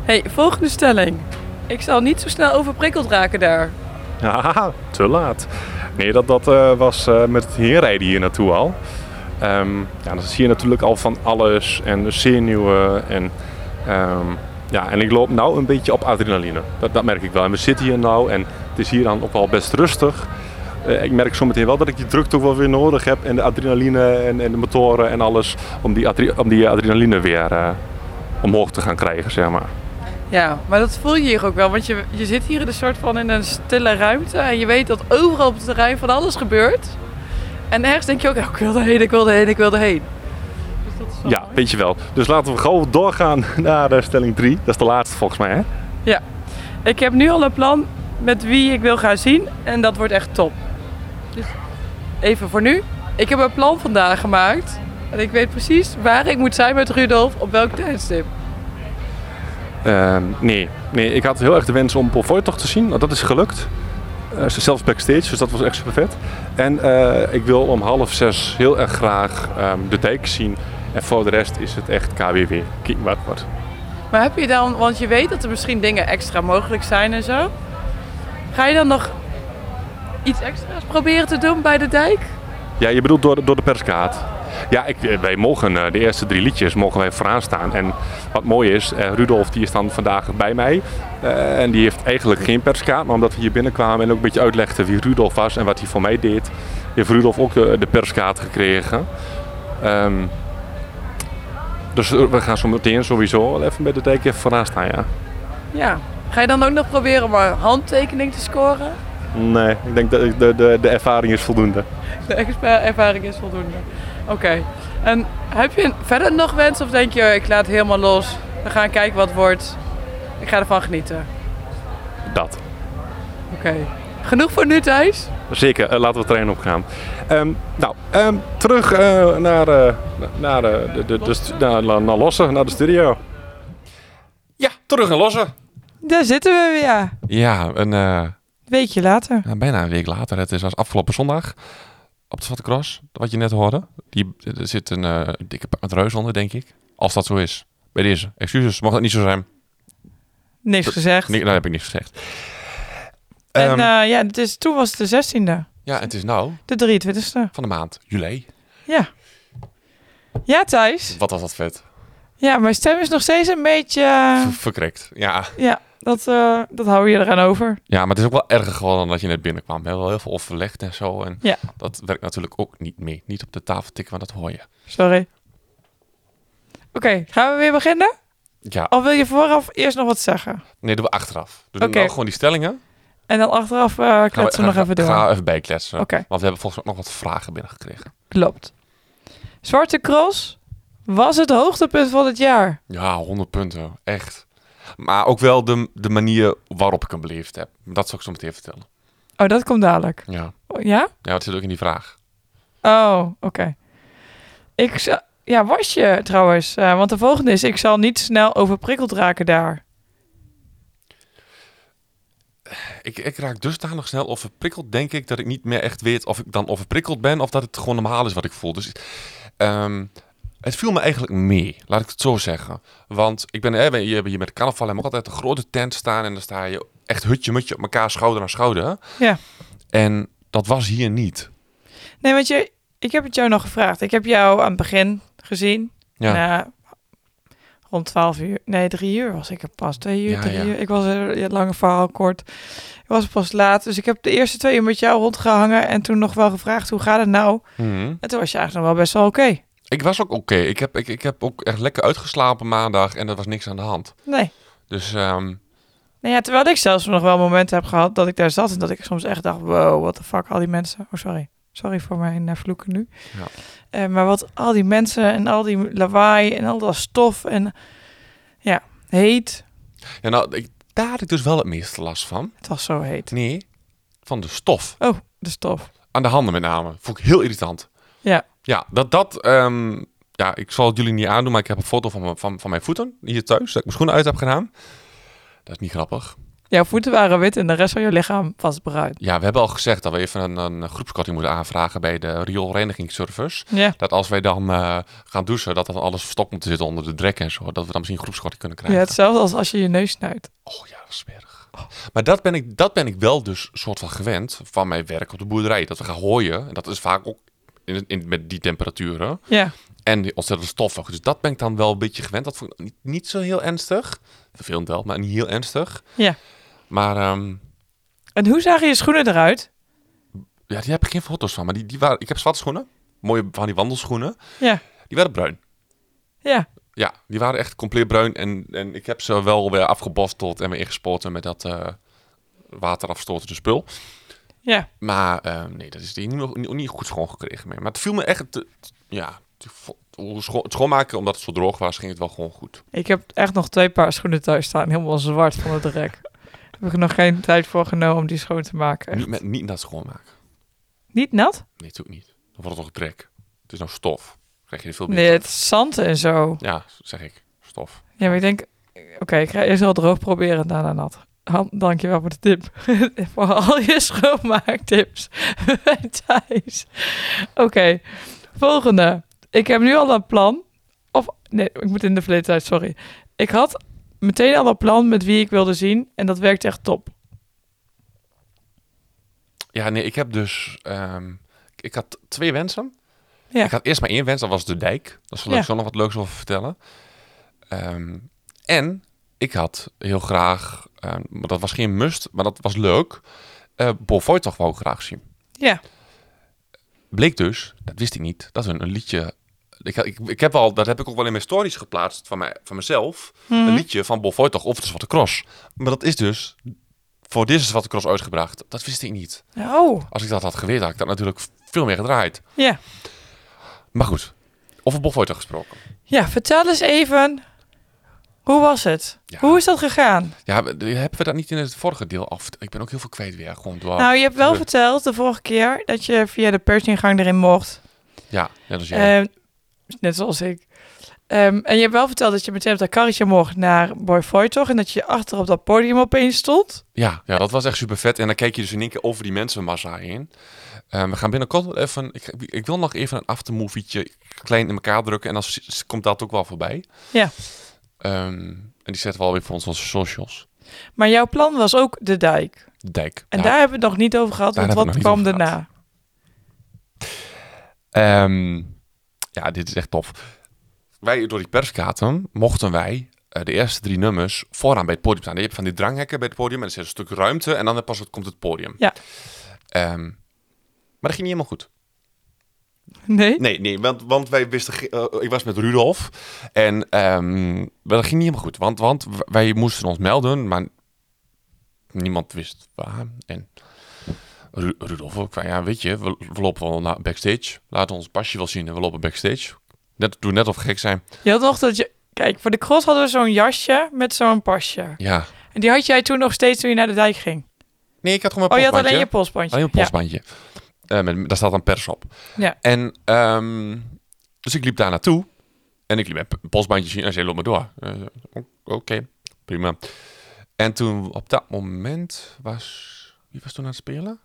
Speaker 3: hey, volgende stelling. Ik zal niet zo snel overprikkeld raken daar.
Speaker 5: Haha, te laat. Nee, dat, dat eh, was eh, met het heenrijden hier naartoe al. Ehm, ja, dan zie je natuurlijk al van alles en zenuwen en... ehm, ja, en ik loop nou een beetje op adrenaline. Dat, dat merk ik wel. En we zitten hier nou en het is hier dan ook wel best rustig. Eh, ik merk zometeen wel dat ik die drukte ook wel weer nodig heb. En de adrenaline en, en de motoren en alles. Om die, adre- om die adrenaline weer eh, omhoog te gaan krijgen, zeg maar.
Speaker 3: Ja, maar dat voel je hier ook wel. Want je, je zit hier in een soort van in een stille ruimte. En je weet dat overal op het terrein van alles gebeurt. En ergens denk je ook, "Oh, ik wil erheen, ik wil erheen, ik wil erheen. Dus dat is wel
Speaker 5: Ja,
Speaker 3: mooi.
Speaker 5: weet je wel. Dus laten we gewoon doorgaan naar eh, stelling 3. Dat is de laatste volgens mij, hè?
Speaker 3: Ik heb nu al een plan met wie ik wil gaan zien. En dat wordt echt top. Dus even voor nu. Ik heb een plan vandaag gemaakt. En ik weet precies waar ik moet zijn met Rudolf op welk tijdstip.
Speaker 5: Ehm, nee. nee, ik had heel erg de wens om Paul Voigt te zien. Nou, dat is gelukt. Eh, zelfs backstage, dus dat was echt super vet. En eh, ik wil om half zes heel erg graag ehm, de dijk zien. En voor de rest is het echt KWW. Kijk wat wordt.
Speaker 3: Maar heb je dan, want je weet dat er misschien dingen extra mogelijk zijn en zo. Ga je dan nog iets extra's proberen te doen bij de dijk?
Speaker 5: Ja, je bedoelt door, de- door de perskaart. Ja, ik, eh, wij mogen eh, de eerste drie liedjes mogen wij vooraan staan. En wat mooi is, eh, Rudolf die is dan vandaag bij mij. Eh, en die heeft eigenlijk geen perskaart. Maar omdat we hier binnenkwamen en ook een beetje uitlegden wie Rudolf was en wat hij voor mij deed, heeft Rudolf ook de, de perskaart gekregen. Ehm, dus eh, we gaan zo meteen sowieso wel even bij de dijk even vooraan staan, ja.
Speaker 3: Ja. Ga je dan ook nog proberen om een handtekening te scoren?
Speaker 5: Nee, ik denk dat de, de, de ervaring is voldoende.
Speaker 3: De extra ervaring is voldoende. Oké. En heb je verder nog wens of denk je, ik laat het helemaal los. We gaan kijken wat het wordt. Ik ga ervan genieten.
Speaker 5: Dat.
Speaker 3: Oké. Genoeg voor nu Thijs.
Speaker 5: Zeker, eh, laten we het trein opgaan. Ehm, nou, ehm, terug eh, naar, eh, naar, eh, de, de, de stu- naar, naar, naar Lossen, naar de studio.
Speaker 4: Ja, terug en lossen.
Speaker 6: Daar zitten we weer. ja.
Speaker 4: Ja, een, eh,
Speaker 6: Weekje later.
Speaker 4: nou, bijna een week later. Het is was afgelopen zondag op de Zwarte Cross, wat je net hoorde. Die, er zit een eh, dikke paard reus onder, denk ik. Als dat zo is. Bij deze. Excuses, mag dat niet zo zijn.
Speaker 6: Niks
Speaker 4: Dat-
Speaker 6: gezegd.
Speaker 4: Nee, dat heb ik niks gezegd.
Speaker 6: en
Speaker 4: Ehm,
Speaker 6: eh, ja, het is, toen was het de 16e.
Speaker 4: ja, het is nou
Speaker 6: De 23e.
Speaker 4: van de maand juli.
Speaker 6: Ja. Ja, Thijs.
Speaker 4: Wat was dat vet.
Speaker 6: Ja, mijn stem is nog steeds een beetje... eh,
Speaker 4: V- Verkrekt. Ja.
Speaker 6: ja, dat, eh, dat hou je eraan over.
Speaker 4: ja, maar het is ook wel erger geworden dan dat je net binnenkwam. We hebben wel heel veel overlegd en zo. En
Speaker 6: Ja.
Speaker 4: dat werkt natuurlijk ook niet mee. Niet op de tafel tikken, want dat hoor je.
Speaker 6: Sorry. Oké, gaan we weer beginnen?
Speaker 4: Ja,
Speaker 3: Of wil je vooraf eerst nog wat zeggen?
Speaker 4: nee, doen we achteraf. Dus
Speaker 3: Oké.
Speaker 4: nou gewoon die stellingen. Gaan
Speaker 3: En dan achteraf eh
Speaker 4: we-
Speaker 3: kletsen we nog
Speaker 4: ga-
Speaker 3: even door.
Speaker 4: Ga even bijkletsen.
Speaker 3: Oké.
Speaker 4: Want we hebben volgens mij ook nog wat vragen binnengekregen.
Speaker 3: Klopt. Zwarte Cross was het hoogtepunt van het jaar.
Speaker 4: Ja, 100 punten. Echt. Maar ook wel de, de manier waarop ik hem beleefd heb. Dat zal ik zo meteen vertellen.
Speaker 3: Oh, dat komt dadelijk.
Speaker 4: Ja.
Speaker 3: Oh, Ja?
Speaker 4: Ja, dat zit ook in die vraag.
Speaker 3: Oh, oké. Ik zou... Ja, was je trouwens. eh, want de volgende is, ik zal niet snel overprikkeld raken daar.
Speaker 4: Ik, ik raak dusdanig snel overprikkeld, denk ik, dat ik niet meer echt weet of ik dan overprikkeld ben of dat het gewoon normaal is wat ik voel. Dus ehm, het viel me eigenlijk mee, laat ik het zo zeggen. Want ik ben hè, hier, hier met carnaval hebben we ook altijd een grote tent staan en dan sta je echt hutje-mutje op elkaar, schouder aan schouder.
Speaker 3: Ja.
Speaker 4: En dat was hier niet.
Speaker 3: Nee, want je, ik heb het jou nog gevraagd. Ik heb jou aan het begin gezien.
Speaker 4: Ja.
Speaker 3: Na- rond 12 uur. Nee, drie uur was ik er pas. Twee uur,
Speaker 4: Ja,
Speaker 3: drie
Speaker 4: ja.
Speaker 3: uur. Ik was er, ja, lange verhaal kort. Ik was er pas laat. Dus ik heb de eerste twee uur met jou rondgehangen. En toen nog wel gevraagd, hoe gaat het nou?
Speaker 4: Mhm.
Speaker 3: En toen was je eigenlijk nog wel best wel oké.
Speaker 4: Ik was ook oké. Ik, heb, ik, ik heb ook echt lekker uitgeslapen maandag en er was niks aan de hand.
Speaker 3: Nee.
Speaker 4: Dus ehm,
Speaker 3: Nou ja, terwijl ik zelfs nog wel momenten heb gehad dat ik daar zat en dat ik soms echt dacht, wow, what the fuck, al die mensen. Oh, sorry. Sorry voor mijn eh, vloeken nu.
Speaker 4: Ja.
Speaker 3: Eh, maar wat al die mensen en al die lawaai en al dat stof en ja, heet.
Speaker 4: ja, nou, ik, daar had ik dus wel het meeste last van.
Speaker 3: Het was zo heet.
Speaker 4: Nee, van de stof.
Speaker 3: Oh, de stof.
Speaker 4: Aan de handen met name. Vond ik heel irritant.
Speaker 3: Ja.
Speaker 4: Ja, dat dat... ehm, ja, ik zal het jullie niet aandoen, maar ik heb een foto van, mijn- van, van mijn voeten hier thuis. Dat ik mijn schoenen uit heb gedaan. Dat is niet grappig.
Speaker 3: Jouw voeten waren wit en de rest van je lichaam was bruin.
Speaker 4: Ja, we hebben al gezegd dat we even een, een groepskorting moeten aanvragen bij de rioolreinigingsservice.
Speaker 3: Ja.
Speaker 4: Dat als wij dan eh, gaan douchen, dat dan alles verstopt moet zitten onder de drek en zo. Dat we dan misschien groepskorting kunnen
Speaker 3: ja,
Speaker 4: krijgen.
Speaker 3: hetzelfde als als je je neus snuit.
Speaker 4: Oh ja, dat is smerig. Maar dat ben, ik, dat ben ik wel dus soort van gewend van mijn werk op de boerderij. Dat we gaan hooien. En dat is vaak ook in, in, met die temperaturen.
Speaker 3: Ja.
Speaker 4: En die ontzettende stof ook. Dus dat ben ik dan wel een beetje gewend. Dat vond ik niet, niet zo heel ernstig. Vervelend wel, maar niet heel ernstig.
Speaker 3: Ja.
Speaker 4: Maar ehm,
Speaker 3: En hoe zagen je schoenen eruit?
Speaker 4: ja, die heb ik geen foto's van. Maar die, die waren, ik heb zwarte schoenen. Mooie van die wandelschoenen.
Speaker 3: Ja.
Speaker 4: Die waren bruin.
Speaker 3: Ja.
Speaker 4: Ja, die waren echt compleet bruin. En, en ik heb ze wel weer afgebosteld en weer ingespoten met dat eh waterafstotende spul.
Speaker 3: Ja.
Speaker 4: Maar eh, nee, dat is die niet, niet, niet goed schoongekregen meer. Maar het viel me echt... te- te- ja, te vo- hoe scho- het schoonmaken, omdat het zo droog was, ging het wel gewoon goed.
Speaker 3: Ik heb echt nog twee paar schoenen thuis staan, helemaal zwart van het rek. heb ik er nog geen tijd voor genomen om die schoon te maken. echt.
Speaker 4: Niet, met, niet dat schoonmaken.
Speaker 3: Niet nat?
Speaker 4: Nee, natuurlijk niet. Dan wordt het toch drek. Het is nou stof. Krijg je er veel meer.
Speaker 3: Nee, het is zand en zo.
Speaker 4: Ja, zeg ik. Stof.
Speaker 3: Ja, maar ik denk... Oké, ik ga eerst wel droog proberen en daarna nat. Han, dankjewel voor de tip. voor al je schoonmaaktips. Thijs. Oké, volgende. Ik heb nu al een plan. Of, nee, ik moet in de verleden tijd, sorry. Ik had meteen al een plan met wie ik wilde zien. En dat werkt echt top.
Speaker 4: Ja, nee, ik heb dus... ehm, ik- ik had twee wensen.
Speaker 3: Ja.
Speaker 4: Ik had eerst maar één wens, dat was de dijk. Daar zal
Speaker 3: Ja.
Speaker 4: ik zo nog wat leuks over vertellen. Ehm, en ik had heel graag... ehm, maar dat was geen must, maar dat was leuk. Eh Bovoy toch wou ik graag zien.
Speaker 3: Ja,
Speaker 4: Bleek dus, dat wist ik niet, dat hun een liedje... Ik, had- ik, ik heb al, dat heb ik ook wel in mijn stories geplaatst van, mij, van mezelf.
Speaker 3: Mhm.
Speaker 4: Een liedje van Bob Voigt of de Zwarte Cross. Maar dat is dus voor deze Zwarte Cross uitgebracht. Dat wist ik niet.
Speaker 3: Oh,
Speaker 4: Als ik dat had geweten, had ik dat natuurlijk veel meer gedraaid.
Speaker 3: ja.
Speaker 4: Maar goed, over Bob Voigt gesproken.
Speaker 3: Ja, vertel eens even. Hoe was het?
Speaker 4: Ja. Oh,
Speaker 3: Hoe is dat gegaan?
Speaker 4: Ja, we- hebben we dat niet in het vorige deel af? Ik ben ook heel veel kwijt weer. Gewoon door.
Speaker 3: nou, je hebt wel
Speaker 4: we-
Speaker 3: verteld de vorige keer dat je via de persingang erin mocht.
Speaker 4: Ja, net als jij.
Speaker 3: Ehm, net zoals ik. Ehm, en je hebt wel verteld dat je meteen op dat karretje mocht naar Boy Voigtog en dat je achter op dat podium opeens stond.
Speaker 4: Ja, ja, dat was echt super vet. En dan kijk je dus in één keer over die mensenmassa heen. Eh, we gaan binnenkort wel even... Ik, ik wil nog even een aftermovietje klein in elkaar drukken. En dan s- s- komt dat ook wel voorbij.
Speaker 3: Ja.
Speaker 4: Ehm, en die zetten we alweer voor ons onze socials.
Speaker 3: Maar jouw plan was ook de dijk.
Speaker 4: Dijk.
Speaker 3: En
Speaker 4: Ja.
Speaker 3: daar hebben we het nog niet over gehad,
Speaker 4: daar
Speaker 3: want
Speaker 4: hebben
Speaker 3: wat
Speaker 4: we het nog
Speaker 3: kwam
Speaker 4: niet over
Speaker 3: daarna?
Speaker 4: Ehm, ja, dit is echt tof. Wij, door die perskaten, mochten wij eh, de eerste drie nummers vooraan bij het podium staan. Je hebt van die dranghekken bij het podium en er zit een stuk ruimte en dan pas komt het podium.
Speaker 3: Ja.
Speaker 4: Ehm, maar dat ging niet helemaal goed.
Speaker 3: Nee?
Speaker 4: Nee, nee want, want wij wisten, ge- eh, ik was met Rudolf en ehm, maar dat ging niet helemaal goed. Want, want wij moesten ons melden, maar niemand wist waar. En Ru- Rudolf ook, van, ja weet je, we, we lopen wel naar backstage. Laten we ons pasje wel zien en we lopen backstage. Net, doe net of we gek zijn.
Speaker 3: Je had nog dat je... Kijk, voor de cross hadden we zo'n jasje met zo'n pasje.
Speaker 4: Ja.
Speaker 3: En die had jij toen nog steeds toen je naar de dijk ging.
Speaker 4: Nee, ik had gewoon
Speaker 3: Oh,
Speaker 4: mijn
Speaker 3: je had alleen
Speaker 4: postbandje.
Speaker 3: je postbandje.
Speaker 4: Alleen een postbandje. Eh, met, daar staat dan pers op.
Speaker 3: Ja.
Speaker 4: En ehm, dus ik liep daar naartoe. En ik liep mijn p- postbandje zien. En zei, loop maar door. Eh, o- Oké, prima. En toen op dat moment was... Wie was toen aan het spelen?
Speaker 3: Ja.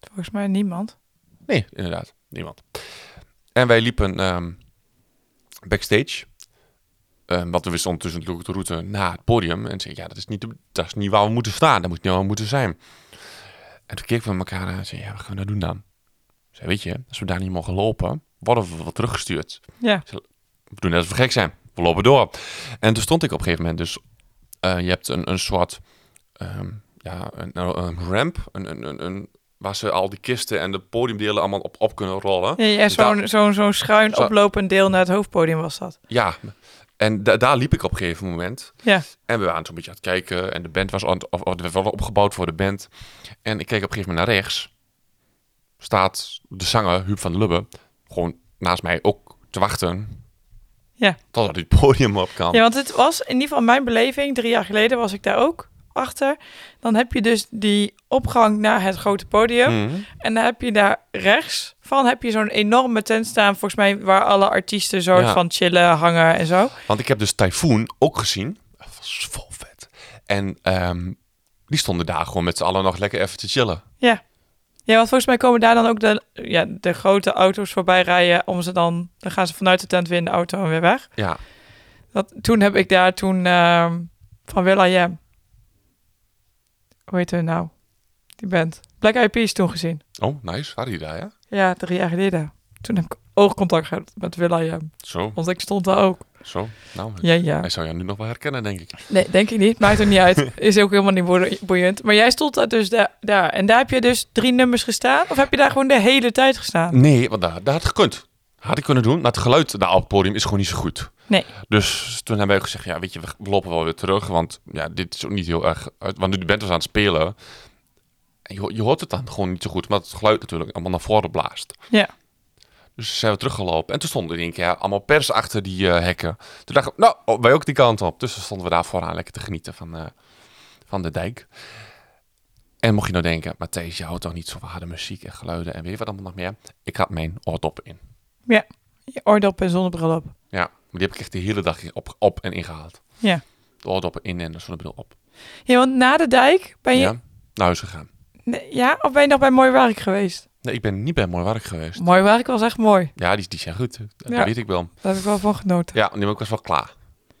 Speaker 3: Volgens mij niemand.
Speaker 4: Nee, inderdaad. Niemand. En wij liepen ehm, backstage. Ehm, want we wisten ondertussen natuurlijk de route naar het podium. En zei, ja, dat is, niet, de- dat is niet waar we moeten staan. Dat moet niet waar we moeten zijn. En toen keken we elkaar aan en zeiden, ja, wat gaan we nou doen dan? Ik zei, weet je, als we daar niet mogen lopen, worden we wel teruggestuurd.
Speaker 3: Ja.
Speaker 4: We doen net alsof we gek zijn. We lopen door. En toen stond ik op een gegeven moment dus... eh, je hebt een, een soort... ehm, ja, een, een- een ramp. Een, een, een, een- waar ze al die kisten en de podiumdelen allemaal op, op kunnen rollen.
Speaker 3: Ja, ja,
Speaker 4: Dus daar-
Speaker 3: zo'n zo'n zo'n schuin
Speaker 4: Zo-
Speaker 3: oplopend deel naar het hoofdpodium was dat.
Speaker 4: Ja, en da- daar liep ik op een gegeven moment.
Speaker 3: Ja.
Speaker 4: En we waren zo'n beetje aan het kijken. En de band was aan het, of, of er werd wel opgebouwd voor de band. En ik keek op een gegeven moment naar rechts. Staat de zanger, Huub van der Lubbe, gewoon naast mij ook te wachten.
Speaker 3: Ja.
Speaker 4: Totdat hij het podium op kan.
Speaker 3: Ja, want het was in ieder geval mijn beleving. Drie jaar geleden was ik daar ook achter. Dan heb je dus die opgang naar het grote podium.
Speaker 4: Mhm.
Speaker 3: En dan heb je daar rechts van heb je zo'n enorme tent staan. Volgens mij waar alle artiesten soort
Speaker 4: Ja.
Speaker 3: van chillen, hangen en zo.
Speaker 4: Want ik heb dus Typhoon ook gezien. Dat was vol vet. En ehm, die stonden daar gewoon met z'n allen nog lekker even te chillen.
Speaker 3: Ja, want volgens mij komen daar dan ook de, ja, de grote auto's voorbij rijden. Om ze dan, dan gaan ze vanuit de tent weer in de auto en weer weg.
Speaker 4: Ja.
Speaker 3: Dat, toen heb ik daar toen ehm, van Will I Am. Hoe heet hij nou? Die band. Black Eyed Peas toen gezien.
Speaker 4: Oh, nice. Waren die daar, ja?
Speaker 3: Ja, drie jaar geleden. Toen heb ik oogcontact gehad met Will I Am.
Speaker 4: Zo,
Speaker 3: Want ik stond daar ook.
Speaker 4: zo. Nou,
Speaker 3: Ja, ja.
Speaker 4: hij zou jou nu nog wel herkennen, denk ik.
Speaker 3: Nee, denk ik niet. Maakt ook niet uit. Is ook helemaal niet boe- boeiend. Maar jij stond daar dus da- daar. En daar heb je dus drie nummers gestaan? Of heb je daar gewoon de hele tijd gestaan?
Speaker 4: Nee, want daar, daar had het gekund. Had ik kunnen doen, maar het geluid daar op het podium is gewoon niet zo goed.
Speaker 3: Nee.
Speaker 4: Dus toen hebben wij gezegd, ja, weet je, we lopen wel weer terug. Want ja, dit is ook niet heel erg... uit- Want de band was aan het spelen. En je, ho- je hoort het dan gewoon niet zo goed. Maar het geluid natuurlijk allemaal naar voren blaast.
Speaker 3: Ja.
Speaker 4: Dus zijn we teruggelopen. En toen stonden er in één keer allemaal pers achter die eh, hekken. Toen dachten we, nou, oh, wij ook die kant op. Dus toen stonden we daar vooraan lekker te genieten van, eh, van de dijk. En mocht je nou denken, Matthijs, je houdt toch niet zo van harde muziek en geluiden en weet je wat allemaal nog meer? Ik had mijn oordop in.
Speaker 3: Je Oordop en zonnebril op.
Speaker 4: Ja, maar die heb ik echt de hele dag op, op en ingehaald.
Speaker 3: Ja.
Speaker 4: De oordoppen in en de zonnebril op.
Speaker 3: Ja, want na de dijk ben je...
Speaker 4: ja,
Speaker 3: Ja,
Speaker 4: naar huis gegaan.
Speaker 3: ja of ben je nog bij Mooi Werk geweest?
Speaker 4: Nee, ik ben niet bij Mooi Werk geweest.
Speaker 3: Mooi Werk was echt mooi.
Speaker 4: Ja, die, die zijn goed. Dat
Speaker 3: Ja.
Speaker 4: weet ik wel.
Speaker 3: Daar heb ik wel van genoten.
Speaker 4: Ja, nee, maar ik was wel klaar.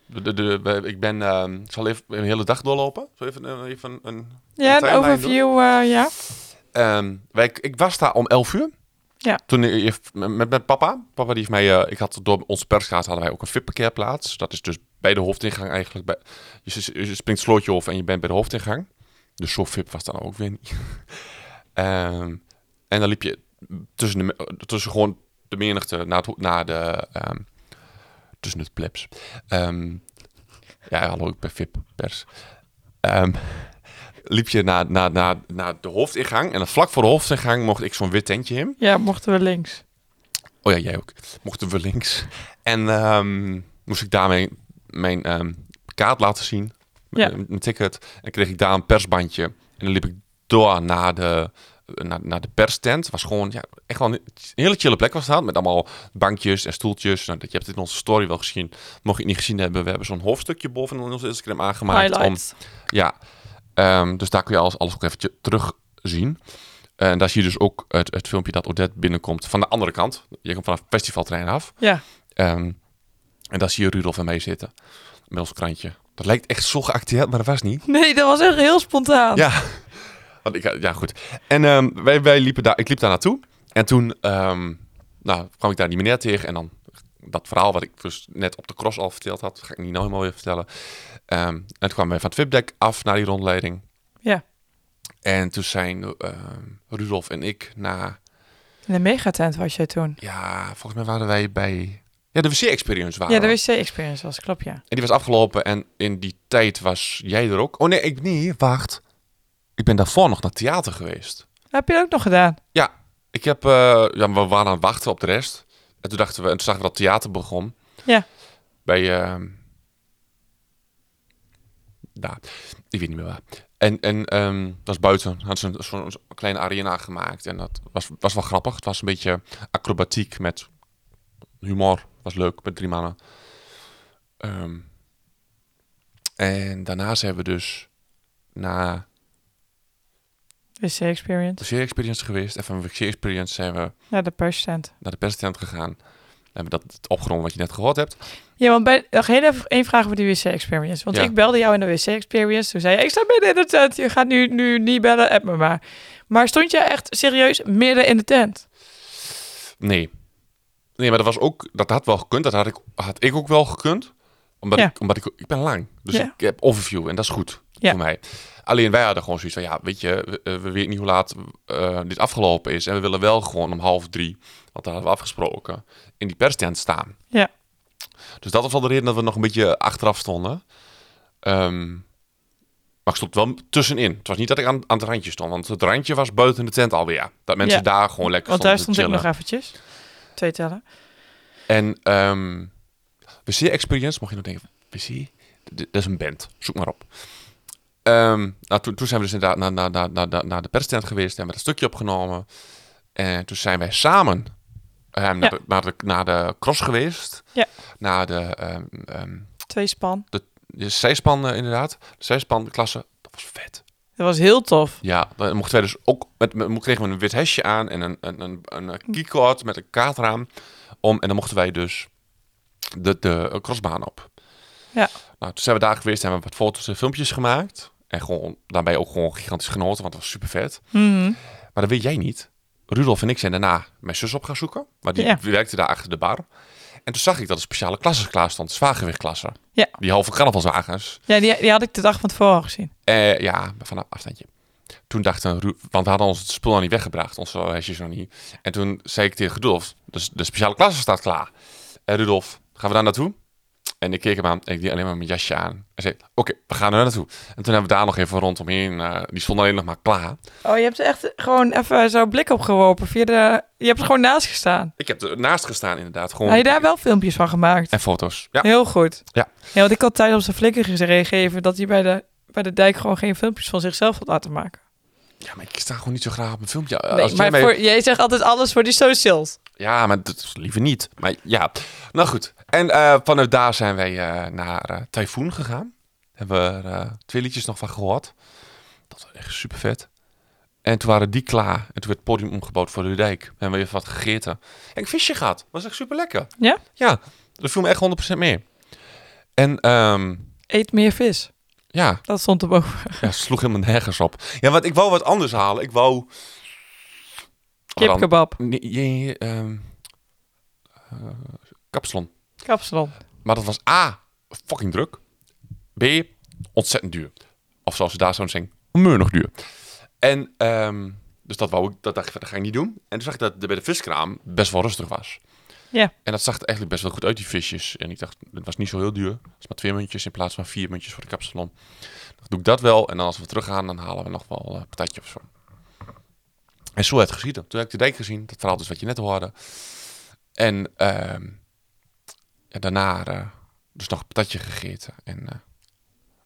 Speaker 4: De, de, de- we- ik ben, ehm, ik zal even een hele dag doorlopen. Zo even, eh, even een...
Speaker 3: Ja, een
Speaker 4: timeline
Speaker 3: overview, eh, ja.
Speaker 4: Ehm, wij, ik, ik was daar om 11 uur.
Speaker 3: Ja.
Speaker 4: Toen heeft, met, met papa. Papa die heeft mij. eh, ik had door onze persgaat hadden wij ook een VIP-parkeerplaats. Dat is dus bij de hoofdingang eigenlijk. Bij, je, s- je springt het slootje over en je bent bij de hoofdingang. Dus zo VIP was dan ook weer niet. Ehm, en dan liep je tussen, de, me- tussen gewoon de menigte naar, het, ho- naar de. ehm, tussen het plebs. Ehm, ja, hallo, ik ben VIP-pers. Ehm, liep je naar, naar, naar, naar de hoofdingang. En dan vlak voor de hoofdingang mocht ik zo'n wit tentje in.
Speaker 3: Ja, mochten we links.
Speaker 4: Oh ja, jij ook. Mochten we links. En ehm, moest ik daar mijn, mijn ehm, kaart laten zien. eh,
Speaker 3: Ja.
Speaker 4: Mijn, mijn ticket. En kreeg ik daar een persbandje. En dan liep ik door naar de, naar, naar de perstent. Was gewoon, ja, echt wel een hele chille plek was dat. Met allemaal bankjes en stoeltjes. Nou, dat, je hebt het in onze story wel gezien. Mocht je het niet gezien hebben, we hebben zo'n hoofdstukje boven in onze Instagram aangemaakt. Om,
Speaker 3: Highlights.
Speaker 4: ja, Ehm, dus daar kun je alles, alles ook eventjes terugzien. En daar zie je dus ook het, het filmpje dat Odette binnenkomt van de andere kant. Je komt vanaf het festivalterrein af.
Speaker 3: Ja.
Speaker 4: Ehm, en daar zie je Rudolf en mij zitten. Met ons krantje. Dat lijkt echt zo geacteerd, maar dat was niet.
Speaker 3: Nee, dat was echt heel spontaan.
Speaker 4: Ja, want ik, ja goed. En ehm, wij, wij liepen daar, ik liep daar naartoe. En toen ehm, nou, kwam ik daar die meneer tegen. En dan dat verhaal wat ik dus net op de cross al verteld had. Ga ik niet nou helemaal weer vertellen. Ehm, en toen kwamen wij van het VIP-deck af naar die rondleiding.
Speaker 3: Ja.
Speaker 4: En toen zijn ehm, Rudolf en ik naar
Speaker 3: De In de megatent was jij toen.
Speaker 4: Ja, volgens mij waren wij bij... Ja, de WC-experience waren
Speaker 3: Ja, de
Speaker 4: we.
Speaker 3: wc-experience was, klopt ja.
Speaker 4: En die was afgelopen en in die tijd was jij er ook. Oh nee, ik niet. Wacht. Ik ben daarvoor nog naar theater geweest.
Speaker 3: Dat heb je dat ook nog gedaan.
Speaker 4: Ik heb, eh, ja, we waren aan het wachten op de rest. En toen dachten we, en toen zagen we dat theater begon.
Speaker 3: Ja.
Speaker 4: Bij, ehm daar, ik weet niet meer waar. En, en ehm, dat was buiten, hadden ze een- zo'n zo'n kleine arena gemaakt. En dat was, was wel grappig. Het was een beetje acrobatiek met humor. Was leuk, met drie mannen. Ehm, en daarnaast hebben we dus na
Speaker 3: Wc-experience.
Speaker 4: de serie-experience geweest. En van de serie-experience zijn we
Speaker 3: Ja, de perstent.
Speaker 4: naar de perstent gegaan. En hebben dat opgenomen wat je net gehoord hebt.
Speaker 3: Ja, want bij, nog heel even één vraag over die wc-experience. Want
Speaker 4: Ja.
Speaker 3: ik belde jou in de wc-experience. Toen zei je, ik sta midden in de tent. Je gaat nu, nu niet bellen, app me maar. Maar stond je echt serieus midden in de tent?
Speaker 4: Nee. Nee, maar dat was ook, dat had wel gekund. Dat had ik, had ik ook wel gekund. Omdat,
Speaker 3: Ja.
Speaker 4: ik, omdat ik, ik ben lang. Dus
Speaker 3: Ja.
Speaker 4: ik heb overview en dat is goed
Speaker 3: Ja.
Speaker 4: voor mij. Alleen wij hadden gewoon zoiets van, ja, weet je, we, eh, we weten niet hoe laat eh, dit afgelopen is. En we willen wel gewoon om half drie, want daar hadden we afgesproken, in die perstent staan.
Speaker 3: Ja.
Speaker 4: Dus dat was wel de reden dat we nog een beetje achteraf stonden. Ehm, maar ik stond wel tussenin. Het was niet dat ik aan, aan het randje stond, want het randje was buiten de tent alweer. Dat mensen
Speaker 3: Ja.
Speaker 4: daar gewoon lekker
Speaker 3: Want
Speaker 4: stonden
Speaker 3: daar
Speaker 4: te
Speaker 3: stond ik
Speaker 4: chillen.
Speaker 3: nog eventjes. Twee tellen.
Speaker 4: En ehm WC Experience, mocht je nog denken, WC? D- Dat is een band, zoek maar op. Ehm, nou, toen, toen zijn we dus inderdaad naar, naar, naar, naar, naar- naar de perstent geweest, hebben we dat stukje opgenomen. En toen zijn wij samen ehm, naar, de, naar, de, naar de cross geweest.
Speaker 3: Ja.
Speaker 4: Naar de, ehm ehm,
Speaker 3: Twee span.
Speaker 4: de zijspan eh, inderdaad, de zijspanklasse. Dat was vet.
Speaker 3: Dat was heel tof.
Speaker 4: Ja, dan mochten wij dus ook, met, met, mo- kregen we een wit hesje aan en een, een, een, een eh, keycord met een kaartraam om. En dan mochten wij dus de, de eh, crossbaan op.
Speaker 3: Ja.
Speaker 4: Nou, toen zijn we daar geweest, hebben we wat foto's en filmpjes gemaakt. En gewoon, daarbij ook gewoon gigantisch genoten, want het was super vet.
Speaker 3: Mhm.
Speaker 4: Maar dat weet jij niet. Rudolf en ik zijn daarna mijn zus op gaan zoeken. Maar die
Speaker 3: Ja.
Speaker 4: werkte daar achter de bar. En toen zag ik dat er speciale klassen klaar stond. Zwaargewichtklassen.
Speaker 3: Ja.
Speaker 4: Die halve carnavalswagens.
Speaker 3: Ja, die, die had ik de dag van tevoren al gezien.
Speaker 4: Eh, ja, vanaf afstandje. Toen dachten Ru- want we hadden ons het spul nog niet weggebracht, onze hesjes nog niet. En toen zei ik tegen Rudolf, dus de speciale klasse staat klaar. En Rudolf, gaan we daar naartoe? En ik keek hem aan en ik deed alleen maar mijn jasje aan. En zei, oké, we gaan er naartoe. En toen hebben we daar nog even rondomheen, eh, die stonden alleen nog maar klaar.
Speaker 3: Oh, je hebt er echt gewoon even zo'n blik op geworpen. Via de... Je hebt er gewoon naast gestaan.
Speaker 4: Ik heb ernaast gestaan inderdaad, gewoon.
Speaker 3: Had je daar wel filmpjes van gemaakt?
Speaker 4: En foto's, ja.
Speaker 3: Heel goed.
Speaker 4: Ja.
Speaker 3: ja, want ik had tijdens de flikker gegeven dat hij bij de, bij de dijk gewoon geen filmpjes van zichzelf had laten maken.
Speaker 4: Ja, maar ik sta gewoon niet zo graag op een filmpje. Eh,
Speaker 3: Nee,
Speaker 4: als jij
Speaker 3: maar
Speaker 4: mij-
Speaker 3: voor, jij zegt altijd alles voor die socials.
Speaker 4: Ja, maar dat is liever niet. Maar ja, nou goed. En eh, vanuit daar zijn wij eh, naar eh Typhoon gegaan. Hebben we er eh, twee liedjes nog van gehoord. Dat was echt super vet. En toen waren die klaar. En toen werd het podium omgebouwd voor de dijk. We hebben even wat gegeten. En ik heb visje gehad. was echt super lekker.
Speaker 3: Ja?
Speaker 4: Ja, dat viel me echt 100% mee. En ehm,
Speaker 3: Eet meer vis.
Speaker 4: ja,
Speaker 3: Dat stond erboven.
Speaker 4: ja, het sloeg helemaal nergens op. Ja, want ik wou wat anders halen. Ik wou... Wat dan?
Speaker 3: Kipkebab.
Speaker 4: Nee, nee, ehm, eh, kapsalon.
Speaker 3: Kapsalon.
Speaker 4: Maar dat was A, fucking druk. B, ontzettend duur. Of zoals ze daar zouden zeggen, meurnig duur. En ehm, dus dat wou ik, dat dacht ik, dat ga ik niet doen. En toen zag ik dat de- bij de viskraam best wel rustig was.
Speaker 3: Ja.
Speaker 4: En dat zag er eigenlijk best wel goed uit, die visjes. En ik dacht, het was niet zo heel duur. Het is maar twee muntjes in plaats van vier muntjes voor de kapsalon. Dan doe ik dat wel. En dan als we terug gaan, dan halen we nog wel een patatje of zo. En zo werd het geschieden. Toen heb ik de dijk gezien. Dat verhaal dus wat je net hoorde. En ehm, ja, daarna eh, dus nog een patatje gegeten. En eh,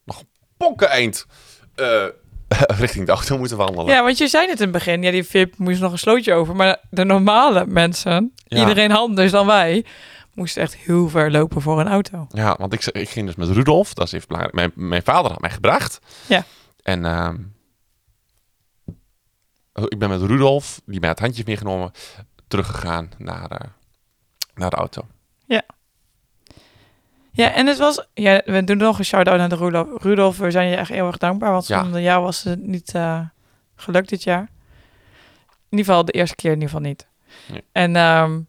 Speaker 4: nog een pokken eind eh, richting de auto moeten wandelen.
Speaker 3: Ja, want je zei het in het begin. Ja, die VIP moest nog een slootje over. Maar de normale mensen,
Speaker 4: Ja.
Speaker 3: iedereen anders dan wij, moesten echt heel ver lopen voor een auto.
Speaker 4: Ja, want ik, ik ging dus met Rudolf, dat is even belangrijk. Mijn, mijn vader had mij gebracht.
Speaker 3: Ja.
Speaker 4: En ehm, ik ben met Rudolf, die mij het handje heeft meegenomen, teruggegaan naar, eh, naar de auto.
Speaker 3: Ja, en het was... Ja, we doen nog een shout-out aan de Rudolf. Rudolf, we zijn je echt heel erg dankbaar. Want
Speaker 4: Ja.
Speaker 3: zonder jou was het niet eh, gelukt dit jaar. In ieder geval de eerste keer in ieder geval niet.
Speaker 4: Nee.
Speaker 3: En ehm,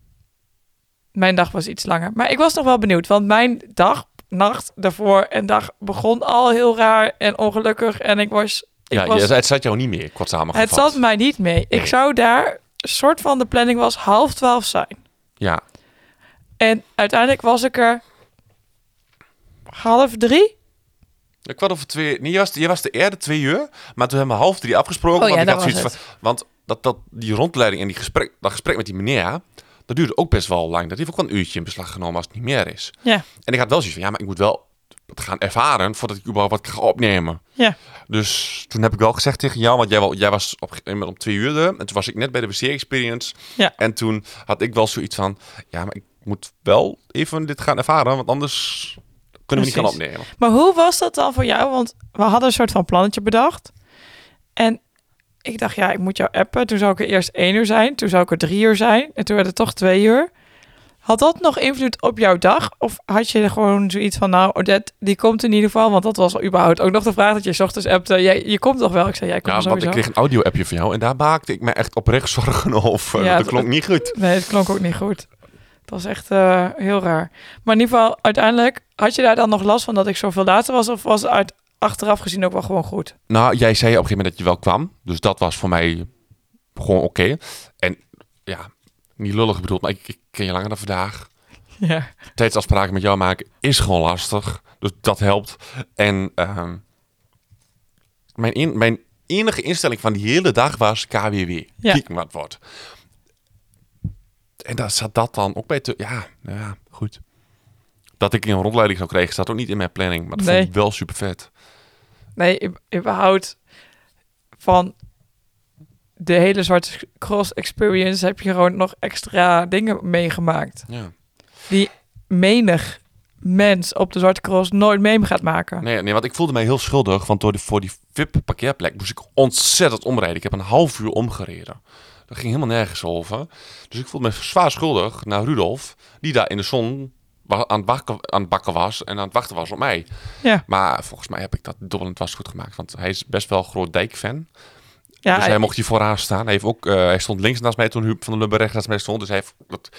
Speaker 3: mijn dag was iets langer. Maar ik was nog wel benieuwd. Want mijn dag, nacht daarvoor en dag begon al heel raar en ongelukkig. En ik was... Ik
Speaker 4: ja,
Speaker 3: was
Speaker 4: je- het zat jou niet meer, kort
Speaker 3: het
Speaker 4: samengevat.
Speaker 3: zat mij niet mee. Ik
Speaker 4: Nee.
Speaker 3: zou daar soort van de planning was half twaalf zijn.
Speaker 4: Ja,
Speaker 3: En uiteindelijk was ik er half drie.
Speaker 4: Ik kwart over twee. Nee, je was, je was te eerder twee uur. Maar toen hebben we half drie afgesproken.
Speaker 3: Oh ja,
Speaker 4: want ik
Speaker 3: dat
Speaker 4: had
Speaker 3: was
Speaker 4: zoiets van. Want dat, dat, die rondleiding en die gesprek, dat gesprek met die meneer. Dat duurde ook best wel lang. Dat heeft ook wel een uurtje in beslag genomen als het niet meer is.
Speaker 3: Ja.
Speaker 4: En ik had wel zoiets van, ja, maar ik moet wel het gaan ervaren voordat ik überhaupt wat ga opnemen.
Speaker 3: Ja.
Speaker 4: Dus toen heb ik wel gezegd tegen jou, want jij, wel, jij was op, een gegeven moment om twee uur er. En toen was ik net bij de WC Experience.
Speaker 3: Ja.
Speaker 4: En toen had ik wel zoiets van, ja, maar ik moet wel even dit gaan ervaren. Want anders kunnen we niet gaan
Speaker 3: Precies.
Speaker 4: opnemen.
Speaker 3: Maar hoe was dat dan voor jou? Want we hadden een soort van plannetje bedacht. En ik dacht, ja, ik moet jou appen. Toen zou ik er eerst één uur zijn. Toen zou ik er drie uur zijn. En toen werd het toch twee uur. Had dat nog invloed op jouw dag? Of had je er gewoon zoiets van, nou, Odette, die komt in ieder geval. Want dat was überhaupt ook nog de vraag dat je 's ochtends appte. Jij, je komt toch wel? Ik zei, jij komt
Speaker 4: Ja, want
Speaker 3: sowieso.
Speaker 4: ik kreeg een audio-appje van jou en daar maakte ik me echt oprecht zorgen over.
Speaker 3: Ja,
Speaker 4: want dat
Speaker 3: het-
Speaker 4: klonk niet goed.
Speaker 3: Nee, het klonk ook niet goed. Dat was echt eh, heel raar. Maar in ieder geval, uiteindelijk, had je daar dan nog last van dat ik zoveel later was? Of was het uit, achteraf gezien ook wel gewoon goed?
Speaker 4: Nou, jij zei op een gegeven moment dat je wel kwam. Dus dat was voor mij gewoon oké. En ja, niet lullig bedoeld, maar ik, ik ken je langer dan vandaag.
Speaker 3: Ja.
Speaker 4: Tijdsafspraken met jou maken is gewoon lastig. Dus dat helpt. En ehm, mijn, in- mijn enige instelling van die hele dag was KWW.
Speaker 3: Ja.
Speaker 4: Kieken wat wordt. En daar zat dat dan ook bij te... Ja, nou ja, goed. Dat ik een rondleiding zou krijgen, staat ook niet in mijn planning. Maar dat
Speaker 3: Nee.
Speaker 4: vond ik wel super vet.
Speaker 3: Nee, u- überhaupt van de hele Zwarte Cross Experience heb je gewoon nog extra dingen meegemaakt.
Speaker 4: Ja.
Speaker 3: Die menig mens op de Zwarte Cross nooit mee gaat maken.
Speaker 4: Ah, Nee, nee, want ik voelde mij heel schuldig. Want door die, voor die VIP-parkeerplek moest ik ontzettend omrijden. Ik heb een half uur omgereden. Dat ging helemaal nergens over. Dus ik voelde me zwaar schuldig naar Rudolf. Die daar in de zon wa- aan het, bakken, aan het bakken was. En aan het wachten was op mij.
Speaker 3: Ja.
Speaker 4: Maar volgens mij heb ik dat dubbelend was goed gemaakt. Want hij is best wel een groot dijkfan.
Speaker 3: Ja,
Speaker 4: dus hij mocht hier vooraan staan. Hij, heeft ook, eh, hij stond links naast mij toen Huub van der Lubbe rechts naast mij stond. Dus hij heeft, dat,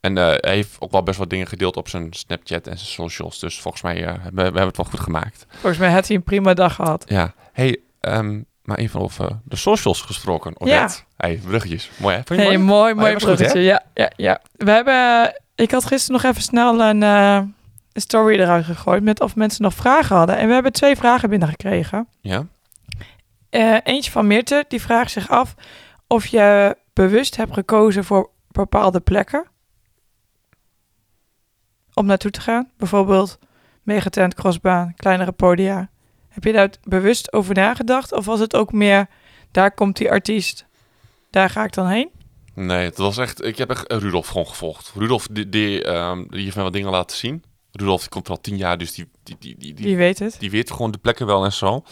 Speaker 4: en eh, hij heeft ook wel best wel dingen gedeeld op zijn Snapchat en zijn socials. Dus volgens mij eh, hebben we hebben het wel goed gemaakt.
Speaker 3: volgens mij had hij een prima dag gehad.
Speaker 4: Ja, hey, ehm, maar even over de socials gesproken, Odette. Hey, bruggetjes. Mooi hè? Vond je het
Speaker 3: Nee,
Speaker 4: mooi? Ah,
Speaker 3: mooi,
Speaker 4: hij
Speaker 3: mooi
Speaker 4: was goed, hè?
Speaker 3: bruggetje. ja, ja, ja. We hebben, eh, ik had gisteren nog even snel een, eh, een story eruit gegooid met of mensen nog vragen hadden. En we hebben twee vragen binnengekregen.
Speaker 4: Ja?
Speaker 3: Eh, eentje van Meerte, die vraagt zich af of je bewust hebt gekozen voor bepaalde plekken om naartoe te gaan. Bijvoorbeeld megatent, crossbaan, kleinere podia. Heb je daar bewust over nagedacht? Of was het ook meer, daar komt die artiest, daar ga ik dan heen?
Speaker 4: Nee, het was echt... Ik heb echt Rudolf gewoon gevolgd. Rudolf, die, die, ehm, die heeft mij wat dingen laten zien. Rudolf, die komt er al tien jaar, dus die, die, die, die, die,
Speaker 3: Wie weet het?
Speaker 4: die weet gewoon de plekken wel en zo.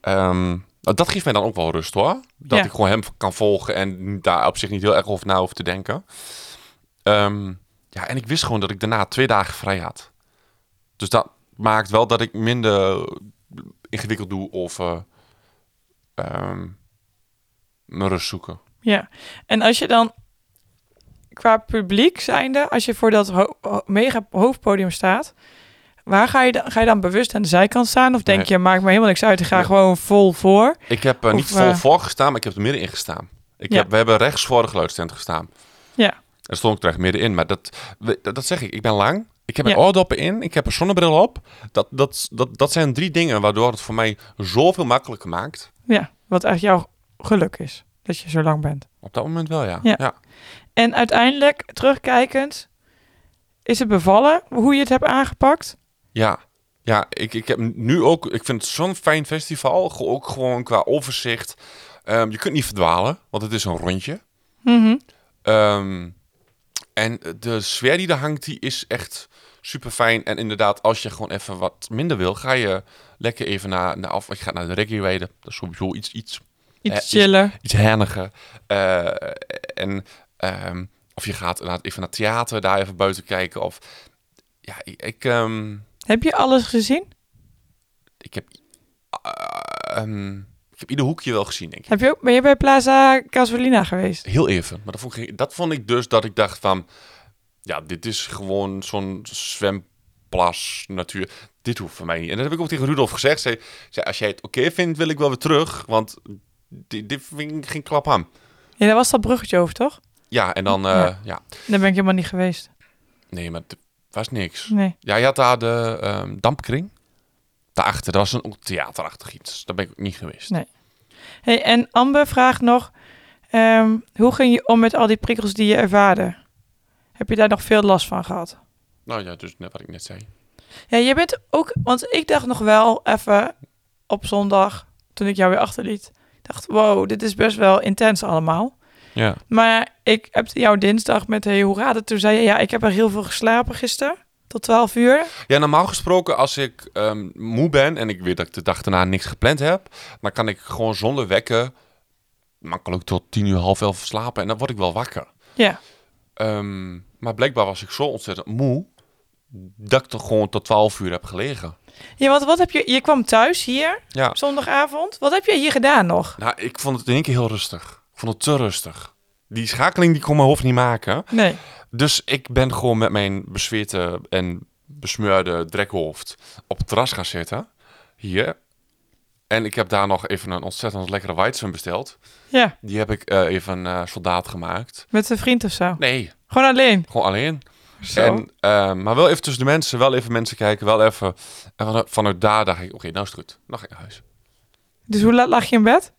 Speaker 4: Ehm, nou, dat geeft mij dan ook wel rust hoor. Dat
Speaker 3: Ja.
Speaker 4: ik gewoon hem kan volgen en daar op zich niet heel erg over na hoef te denken. Ehm, ja, en ik wist gewoon dat ik daarna twee dagen vrij had. Dus dat maakt wel dat ik minder ingewikkeld doe of eh, ehm, mijn rust zoeken.
Speaker 3: Ja, en als je dan qua publiek zijnde, als je voor dat ho- ho- mega hoofdpodium staat, waar ga je dan, ga je dan bewust aan de zijkant staan? Of denk
Speaker 4: Nee.
Speaker 3: je, maakt me helemaal niks uit, ik ga
Speaker 4: Nee.
Speaker 3: gewoon vol voor?
Speaker 4: Ik heb eh,
Speaker 3: Of,
Speaker 4: niet vol
Speaker 3: eh,
Speaker 4: voor gestaan, maar ik heb er middenin gestaan. Ik
Speaker 3: Ja.
Speaker 4: heb, we hebben rechts voor de geluidstent gestaan.
Speaker 3: Ja.
Speaker 4: Daar stond ik terecht middenin. Maar dat, we- dat, dat zeg ik, ik ben lang. Ik heb
Speaker 3: Ja.
Speaker 4: mijn oordoppen in. Ik heb een zonnebril op. Dat, dat, dat, dat zijn drie dingen waardoor het voor mij zoveel makkelijker maakt.
Speaker 3: Ja, wat echt jouw geluk is, dat je zo lang bent.
Speaker 4: Op dat moment wel, ja.
Speaker 3: Ja. En uiteindelijk, terugkijkend, is het bevallen hoe je het hebt aangepakt?
Speaker 4: Ja, ja ik, ik heb nu ook. Ik vind het zo'n fijn festival. ge- Ook gewoon qua overzicht. Ehm, je kunt niet verdwalen, want het is een rondje.
Speaker 3: Mhm.
Speaker 4: Ehm, en de sfeer die er hangt, die is echt super fijn. En inderdaad, als je gewoon even wat minder wil, ga je lekker even naar, naar af. Je gaat naar de reggae rijden. Dat is sowieso iets, iets, Eh,
Speaker 3: Iets
Speaker 4: is-
Speaker 3: chiller.
Speaker 4: iets herniger. Eh, en ehm, of je gaat inderdaad even naar het theater, daar even buiten kijken. Of ja, ik, ik, ehm,
Speaker 3: Heb je alles gezien?
Speaker 4: ik heb. ah, ehm, ik heb ieder hoekje wel gezien, denk ik.
Speaker 3: Heb je ook, ben je bij Plaza Casolina geweest?
Speaker 4: Heel even. Maar dat vond, ik, dat vond ik dus dat ik dacht van... Ja, dit is gewoon zo'n zwemplas natuur. Dit hoeft voor mij niet. En dat heb ik ook tegen Rudolf gezegd. Zei, zei, als jij het oké vindt, wil ik wel weer terug. Want dit, dit vind ik geen klap aan.
Speaker 3: Ja, daar was dat bruggetje over, toch?
Speaker 4: Ja, en dan... eh,
Speaker 3: Ja.
Speaker 4: ja.
Speaker 3: Daar ben ik helemaal niet geweest.
Speaker 4: Nee, maar het was niks.
Speaker 3: Nee.
Speaker 4: Ja, je had daar de ehm dampkring. Daarachter, dat was een ook theaterachtig iets. Daar ben ik ook niet geweest.
Speaker 3: Nee. Hey, en Amber vraagt nog, ehm, hoe ging je om met al die prikkels die je ervaarde? Heb je daar nog veel last van gehad?
Speaker 4: Nou ja, dus net wat ik net zei.
Speaker 3: Ja, je bent ook, want ik dacht nog wel even op zondag, toen ik jou weer achterliet, dacht, wow, dit is best wel intens allemaal.
Speaker 4: Ja.
Speaker 3: Maar ik heb jou dinsdag met, hey, hoe gaat het? Toen zei je, ja, ik heb er heel veel geslapen gisteren, tot 12 uur.
Speaker 4: Ja, normaal gesproken als ik ehm, moe ben en ik weet dat ik de dag daarna niks gepland heb, dan kan ik gewoon zonder wekken makkelijk tot tien uur, half elf slapen en dan word ik wel wakker.
Speaker 3: Ja,
Speaker 4: Ehm, maar blijkbaar was ik zo ontzettend moe dat ik toch gewoon tot twaalf uur heb gelegen.
Speaker 3: ja want wat heb je, je kwam thuis hier,
Speaker 4: Ja.
Speaker 3: zondagavond. Wat heb je hier gedaan nog?
Speaker 4: Nou, ik vond het in één keer heel rustig. Ik vond het te rustig. Die schakeling die kon mijn hoofd niet maken.
Speaker 3: Nee.
Speaker 4: Dus ik ben gewoon met mijn bezweten en besmeurde drekhoofd op het terras gaan zitten. Hier. En ik heb daar nog even een ontzettend lekkere Weizen besteld.
Speaker 3: Ja,
Speaker 4: Die heb ik eh, even eh soldaat gemaakt.
Speaker 3: met een vriend of zo.
Speaker 4: Nee,
Speaker 3: Gewoon alleen.
Speaker 4: gewoon alleen.
Speaker 3: Zo.
Speaker 4: En, eh, maar wel even tussen de mensen, wel even mensen kijken, wel even. En vanuit, vanuit daar dacht ik, oké, nou is het goed. Dan ga ik naar huis.
Speaker 3: Dus hoe laat lag je in bed?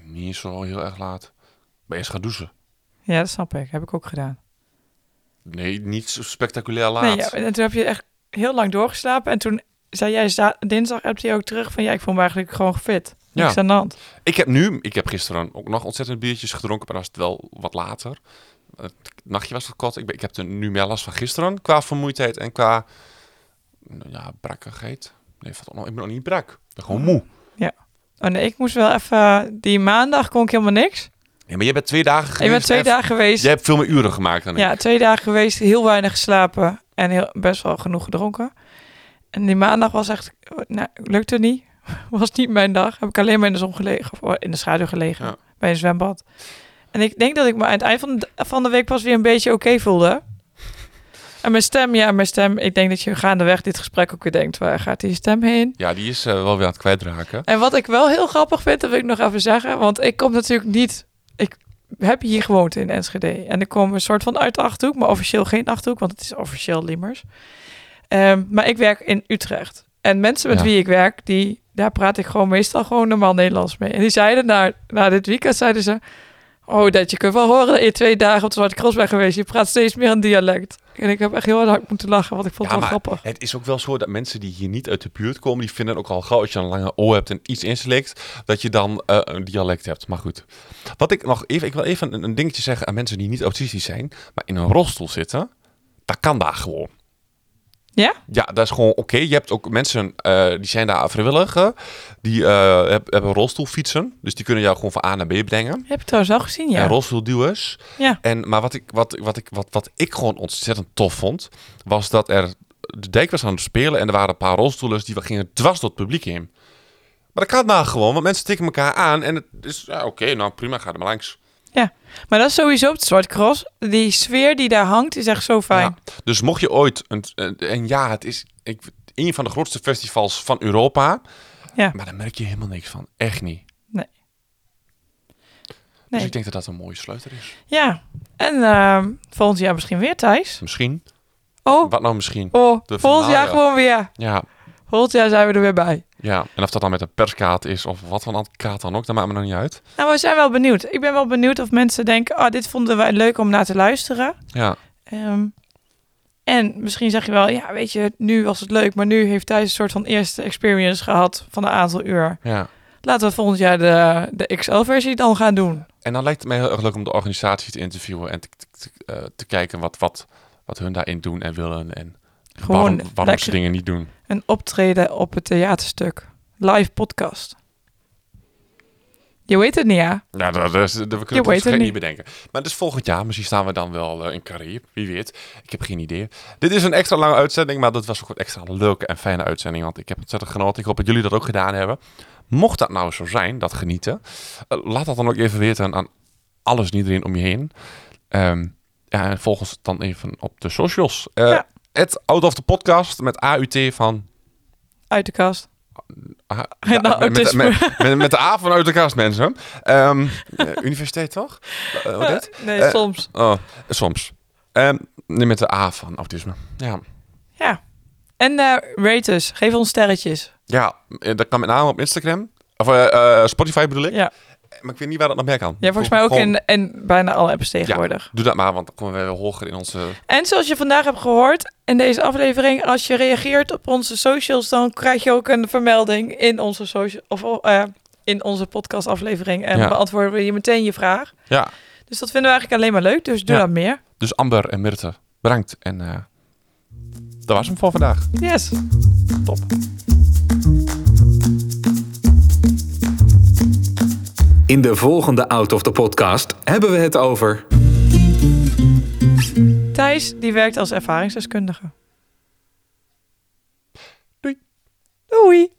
Speaker 4: Niet zo heel erg laat. Ik Ben eerst gaan douchen.
Speaker 3: Ja, dat snap ik. Heb ik ook gedaan.
Speaker 4: Nee, niet zo spectaculair laat.
Speaker 3: Nee, ja, en toen heb je echt heel lang doorgeslapen. En toen zei jij za- dinsdag heb je ook terug van... ja, ik voel me eigenlijk gewoon fit.
Speaker 4: Ja.
Speaker 3: Niks aan de hand.
Speaker 4: Ik heb nu, ik heb gisteren ook nog ontzettend biertjes gedronken, maar dat was het wel wat later. Het nachtje was wat kort. Ik, ben, ik heb er nu meer last van gisteren qua vermoeidheid en qua nou ja, brakkigheid. Nee, valt ook nog, ik ben nog niet brak. Ik ben gewoon moe.
Speaker 3: Oh nee, ik moest wel even... Die maandag kon ik helemaal niks.
Speaker 4: Ja, maar jij bent twee dagen geweest.
Speaker 3: Ik ben twee
Speaker 4: en-
Speaker 3: dagen geweest.
Speaker 4: Jij hebt veel meer uren gemaakt dan ik.
Speaker 3: Ja, twee dagen geweest. Heel weinig geslapen. En heel, best wel genoeg gedronken. En die maandag was echt... Nou, lukte niet. Was niet mijn dag. Heb ik alleen maar in de zon gelegen. Of in de schaduw gelegen.
Speaker 4: Ja.
Speaker 3: Bij een zwembad. En ik denk dat ik me aan het eind van de, van de week pas weer een beetje oké voelde. En mijn stem, ja, mijn stem. Ik denk dat je gaandeweg dit gesprek ook weer denkt... waar gaat die stem heen?
Speaker 4: Ja, die is eh, wel weer aan het kwijtraken.
Speaker 3: En wat ik wel heel grappig vind, dat wil ik nog even zeggen. Want ik kom natuurlijk niet. Ik heb hier gewoond in Enschede. En ik kom een soort van uit de achterhoek, maar officieel geen achterhoek, want het is officieel Limers. Ehm, maar ik werk in Utrecht. En mensen met
Speaker 4: Ja.
Speaker 3: wie ik werk, die, daar praat ik gewoon meestal gewoon normaal Nederlands mee. En die zeiden na, na dit weekend, zeiden ze... Oh, dat je kunt wel horen dat je twee dagen op de Zwarte Cross bent geweest. Je praat steeds meer een dialect. En ik heb echt heel hard moeten lachen, want ik vond het
Speaker 4: ja,
Speaker 3: wel
Speaker 4: maar
Speaker 3: grappig.
Speaker 4: het is ook wel zo dat mensen die hier niet uit de buurt komen, die vinden ook al gauw als je een lange O hebt en iets inslikt, dat je dan eh, een dialect hebt. Maar goed. Wat ik nog even, ik wil even een, een dingetje zeggen aan mensen die niet autistisch zijn, maar in een rolstoel zitten, dat kan daar gewoon.
Speaker 3: Ja?
Speaker 4: Ja, dat is gewoon oké. Je hebt ook mensen eh, die zijn daar vrijwilliger, die eh, heb- hebben rolstoelfietsen, dus die kunnen jou gewoon van A naar B brengen.
Speaker 3: Heb je trouwens al gezien,
Speaker 4: En
Speaker 3: ja.
Speaker 4: rolstoelduwers.
Speaker 3: Ja,
Speaker 4: En, maar wat ik, wat, wat, ik, wat, wat ik gewoon ontzettend tof vond, was dat er de dijk was aan het spelen en er waren een paar rolstoelers die gingen dwars door het publiek heen. Maar dat kan nou gewoon, want mensen tikken elkaar aan en het is, ja, oké, nou prima, ga er maar langs.
Speaker 3: Ja, maar dat is sowieso op het Zwarte Cross. Die sfeer die daar hangt is echt zo fijn.
Speaker 4: Ja. Dus mocht je ooit, een, een- en ja, het is ik, een van de grootste festivals van Europa,
Speaker 3: Ja.
Speaker 4: maar daar merk je helemaal niks van, echt niet.
Speaker 3: nee.
Speaker 4: Dus ik denk dat dat een mooie sleuter is.
Speaker 3: ja. en ehm, volgend jaar misschien weer, Thijs.
Speaker 4: Misschien.
Speaker 3: Oh,
Speaker 4: Wat nou misschien?
Speaker 3: oh
Speaker 4: de
Speaker 3: volgend jaar
Speaker 4: finale.
Speaker 3: gewoon weer.
Speaker 4: Ja,
Speaker 3: Volgend jaar zijn we er weer bij.
Speaker 4: ja. En of dat dan met een perskaart is of wat voor een kaart dan ook, dat maakt me nog niet uit.
Speaker 3: Nou, we zijn wel benieuwd. Ik ben wel benieuwd of mensen denken... Oh, dit vonden wij leuk om naar te luisteren.
Speaker 4: Ja.
Speaker 3: Ehm, en misschien zeg je wel... Ja, weet je, nu was het leuk... maar nu heeft Thijs een soort van eerste experience gehad... van een aantal uur.
Speaker 4: Ja.
Speaker 3: Laten we volgend jaar de, de XL-versie dan gaan doen.
Speaker 4: En dan lijkt het mij heel erg leuk om de organisatie te interviewen en te, te- te- eh, te kijken wat, wat, wat hun daarin doen en willen. En
Speaker 3: Gewoon
Speaker 4: waarom, waarom
Speaker 3: lekker-
Speaker 4: ze dingen niet doen.
Speaker 3: Een optreden op het theaterstuk. Live podcast. Je weet het niet, ja?
Speaker 4: Ja, dat, dat is, dat- we kunnen
Speaker 3: weet
Speaker 4: het
Speaker 3: het
Speaker 4: gek
Speaker 3: niet.
Speaker 4: niet bedenken. Maar dus volgend jaar, misschien staan we dan wel eh, in Carib. Wie weet. Ik heb geen idee. Dit is een extra lange uitzending, maar dat was ook een extra leuke en fijne uitzending. Want ik heb ontzettend genoten. Ik hoop dat jullie dat ook gedaan hebben. Mocht dat nou zo zijn, dat genieten, eh, laat dat dan ook even weten aan alles en iedereen om je heen. Ehm, ja, en volg ons dan even op de socials. Eh
Speaker 3: Ja.
Speaker 4: Het Out of the Podcast met AUT van
Speaker 3: Uit de kast.
Speaker 4: ah,
Speaker 3: En dan
Speaker 4: met, met,
Speaker 3: autisme.
Speaker 4: met, met- met de A vanuit de kast, mensen. Ehm, eh, universiteit, toch? Eh, wat dit?
Speaker 3: Nee,
Speaker 4: Eh,
Speaker 3: soms.
Speaker 4: Oh, soms. Ehm, nee, met de A van autisme. Ja.
Speaker 3: Ja. En eh rate us. Geef ons sterretjes.
Speaker 4: Ja, eh, dat kan met name op Instagram. Of eh, eh, Spotify bedoel ik.
Speaker 3: Ja.
Speaker 4: Maar ik weet niet waar dat nog meer kan.
Speaker 3: Ja, volgens mij ook
Speaker 4: Gewoon-
Speaker 3: in, in bijna alle apps tegenwoordig.
Speaker 4: Doe dat maar, want dan komen we weer hoger in onze...
Speaker 3: En zoals je vandaag hebt gehoord in deze aflevering, als je reageert op onze socials, dan krijg je ook een vermelding in onze social of eh, in onze podcastaflevering en
Speaker 4: Ja.
Speaker 3: beantwoorden we je meteen je vraag.
Speaker 4: Ja,
Speaker 3: Dus dat vinden we eigenlijk alleen maar leuk. Dus doe
Speaker 4: Ja.
Speaker 3: dat meer.
Speaker 4: dus Amber en Mirte, bedankt. En eh, dat was hem voor vandaag.
Speaker 3: Yes.
Speaker 4: Top.
Speaker 2: In de volgende Out of the Podcast hebben we het over
Speaker 3: Thijs die werkt als ervaringsdeskundige.
Speaker 4: Doei.
Speaker 3: Doei.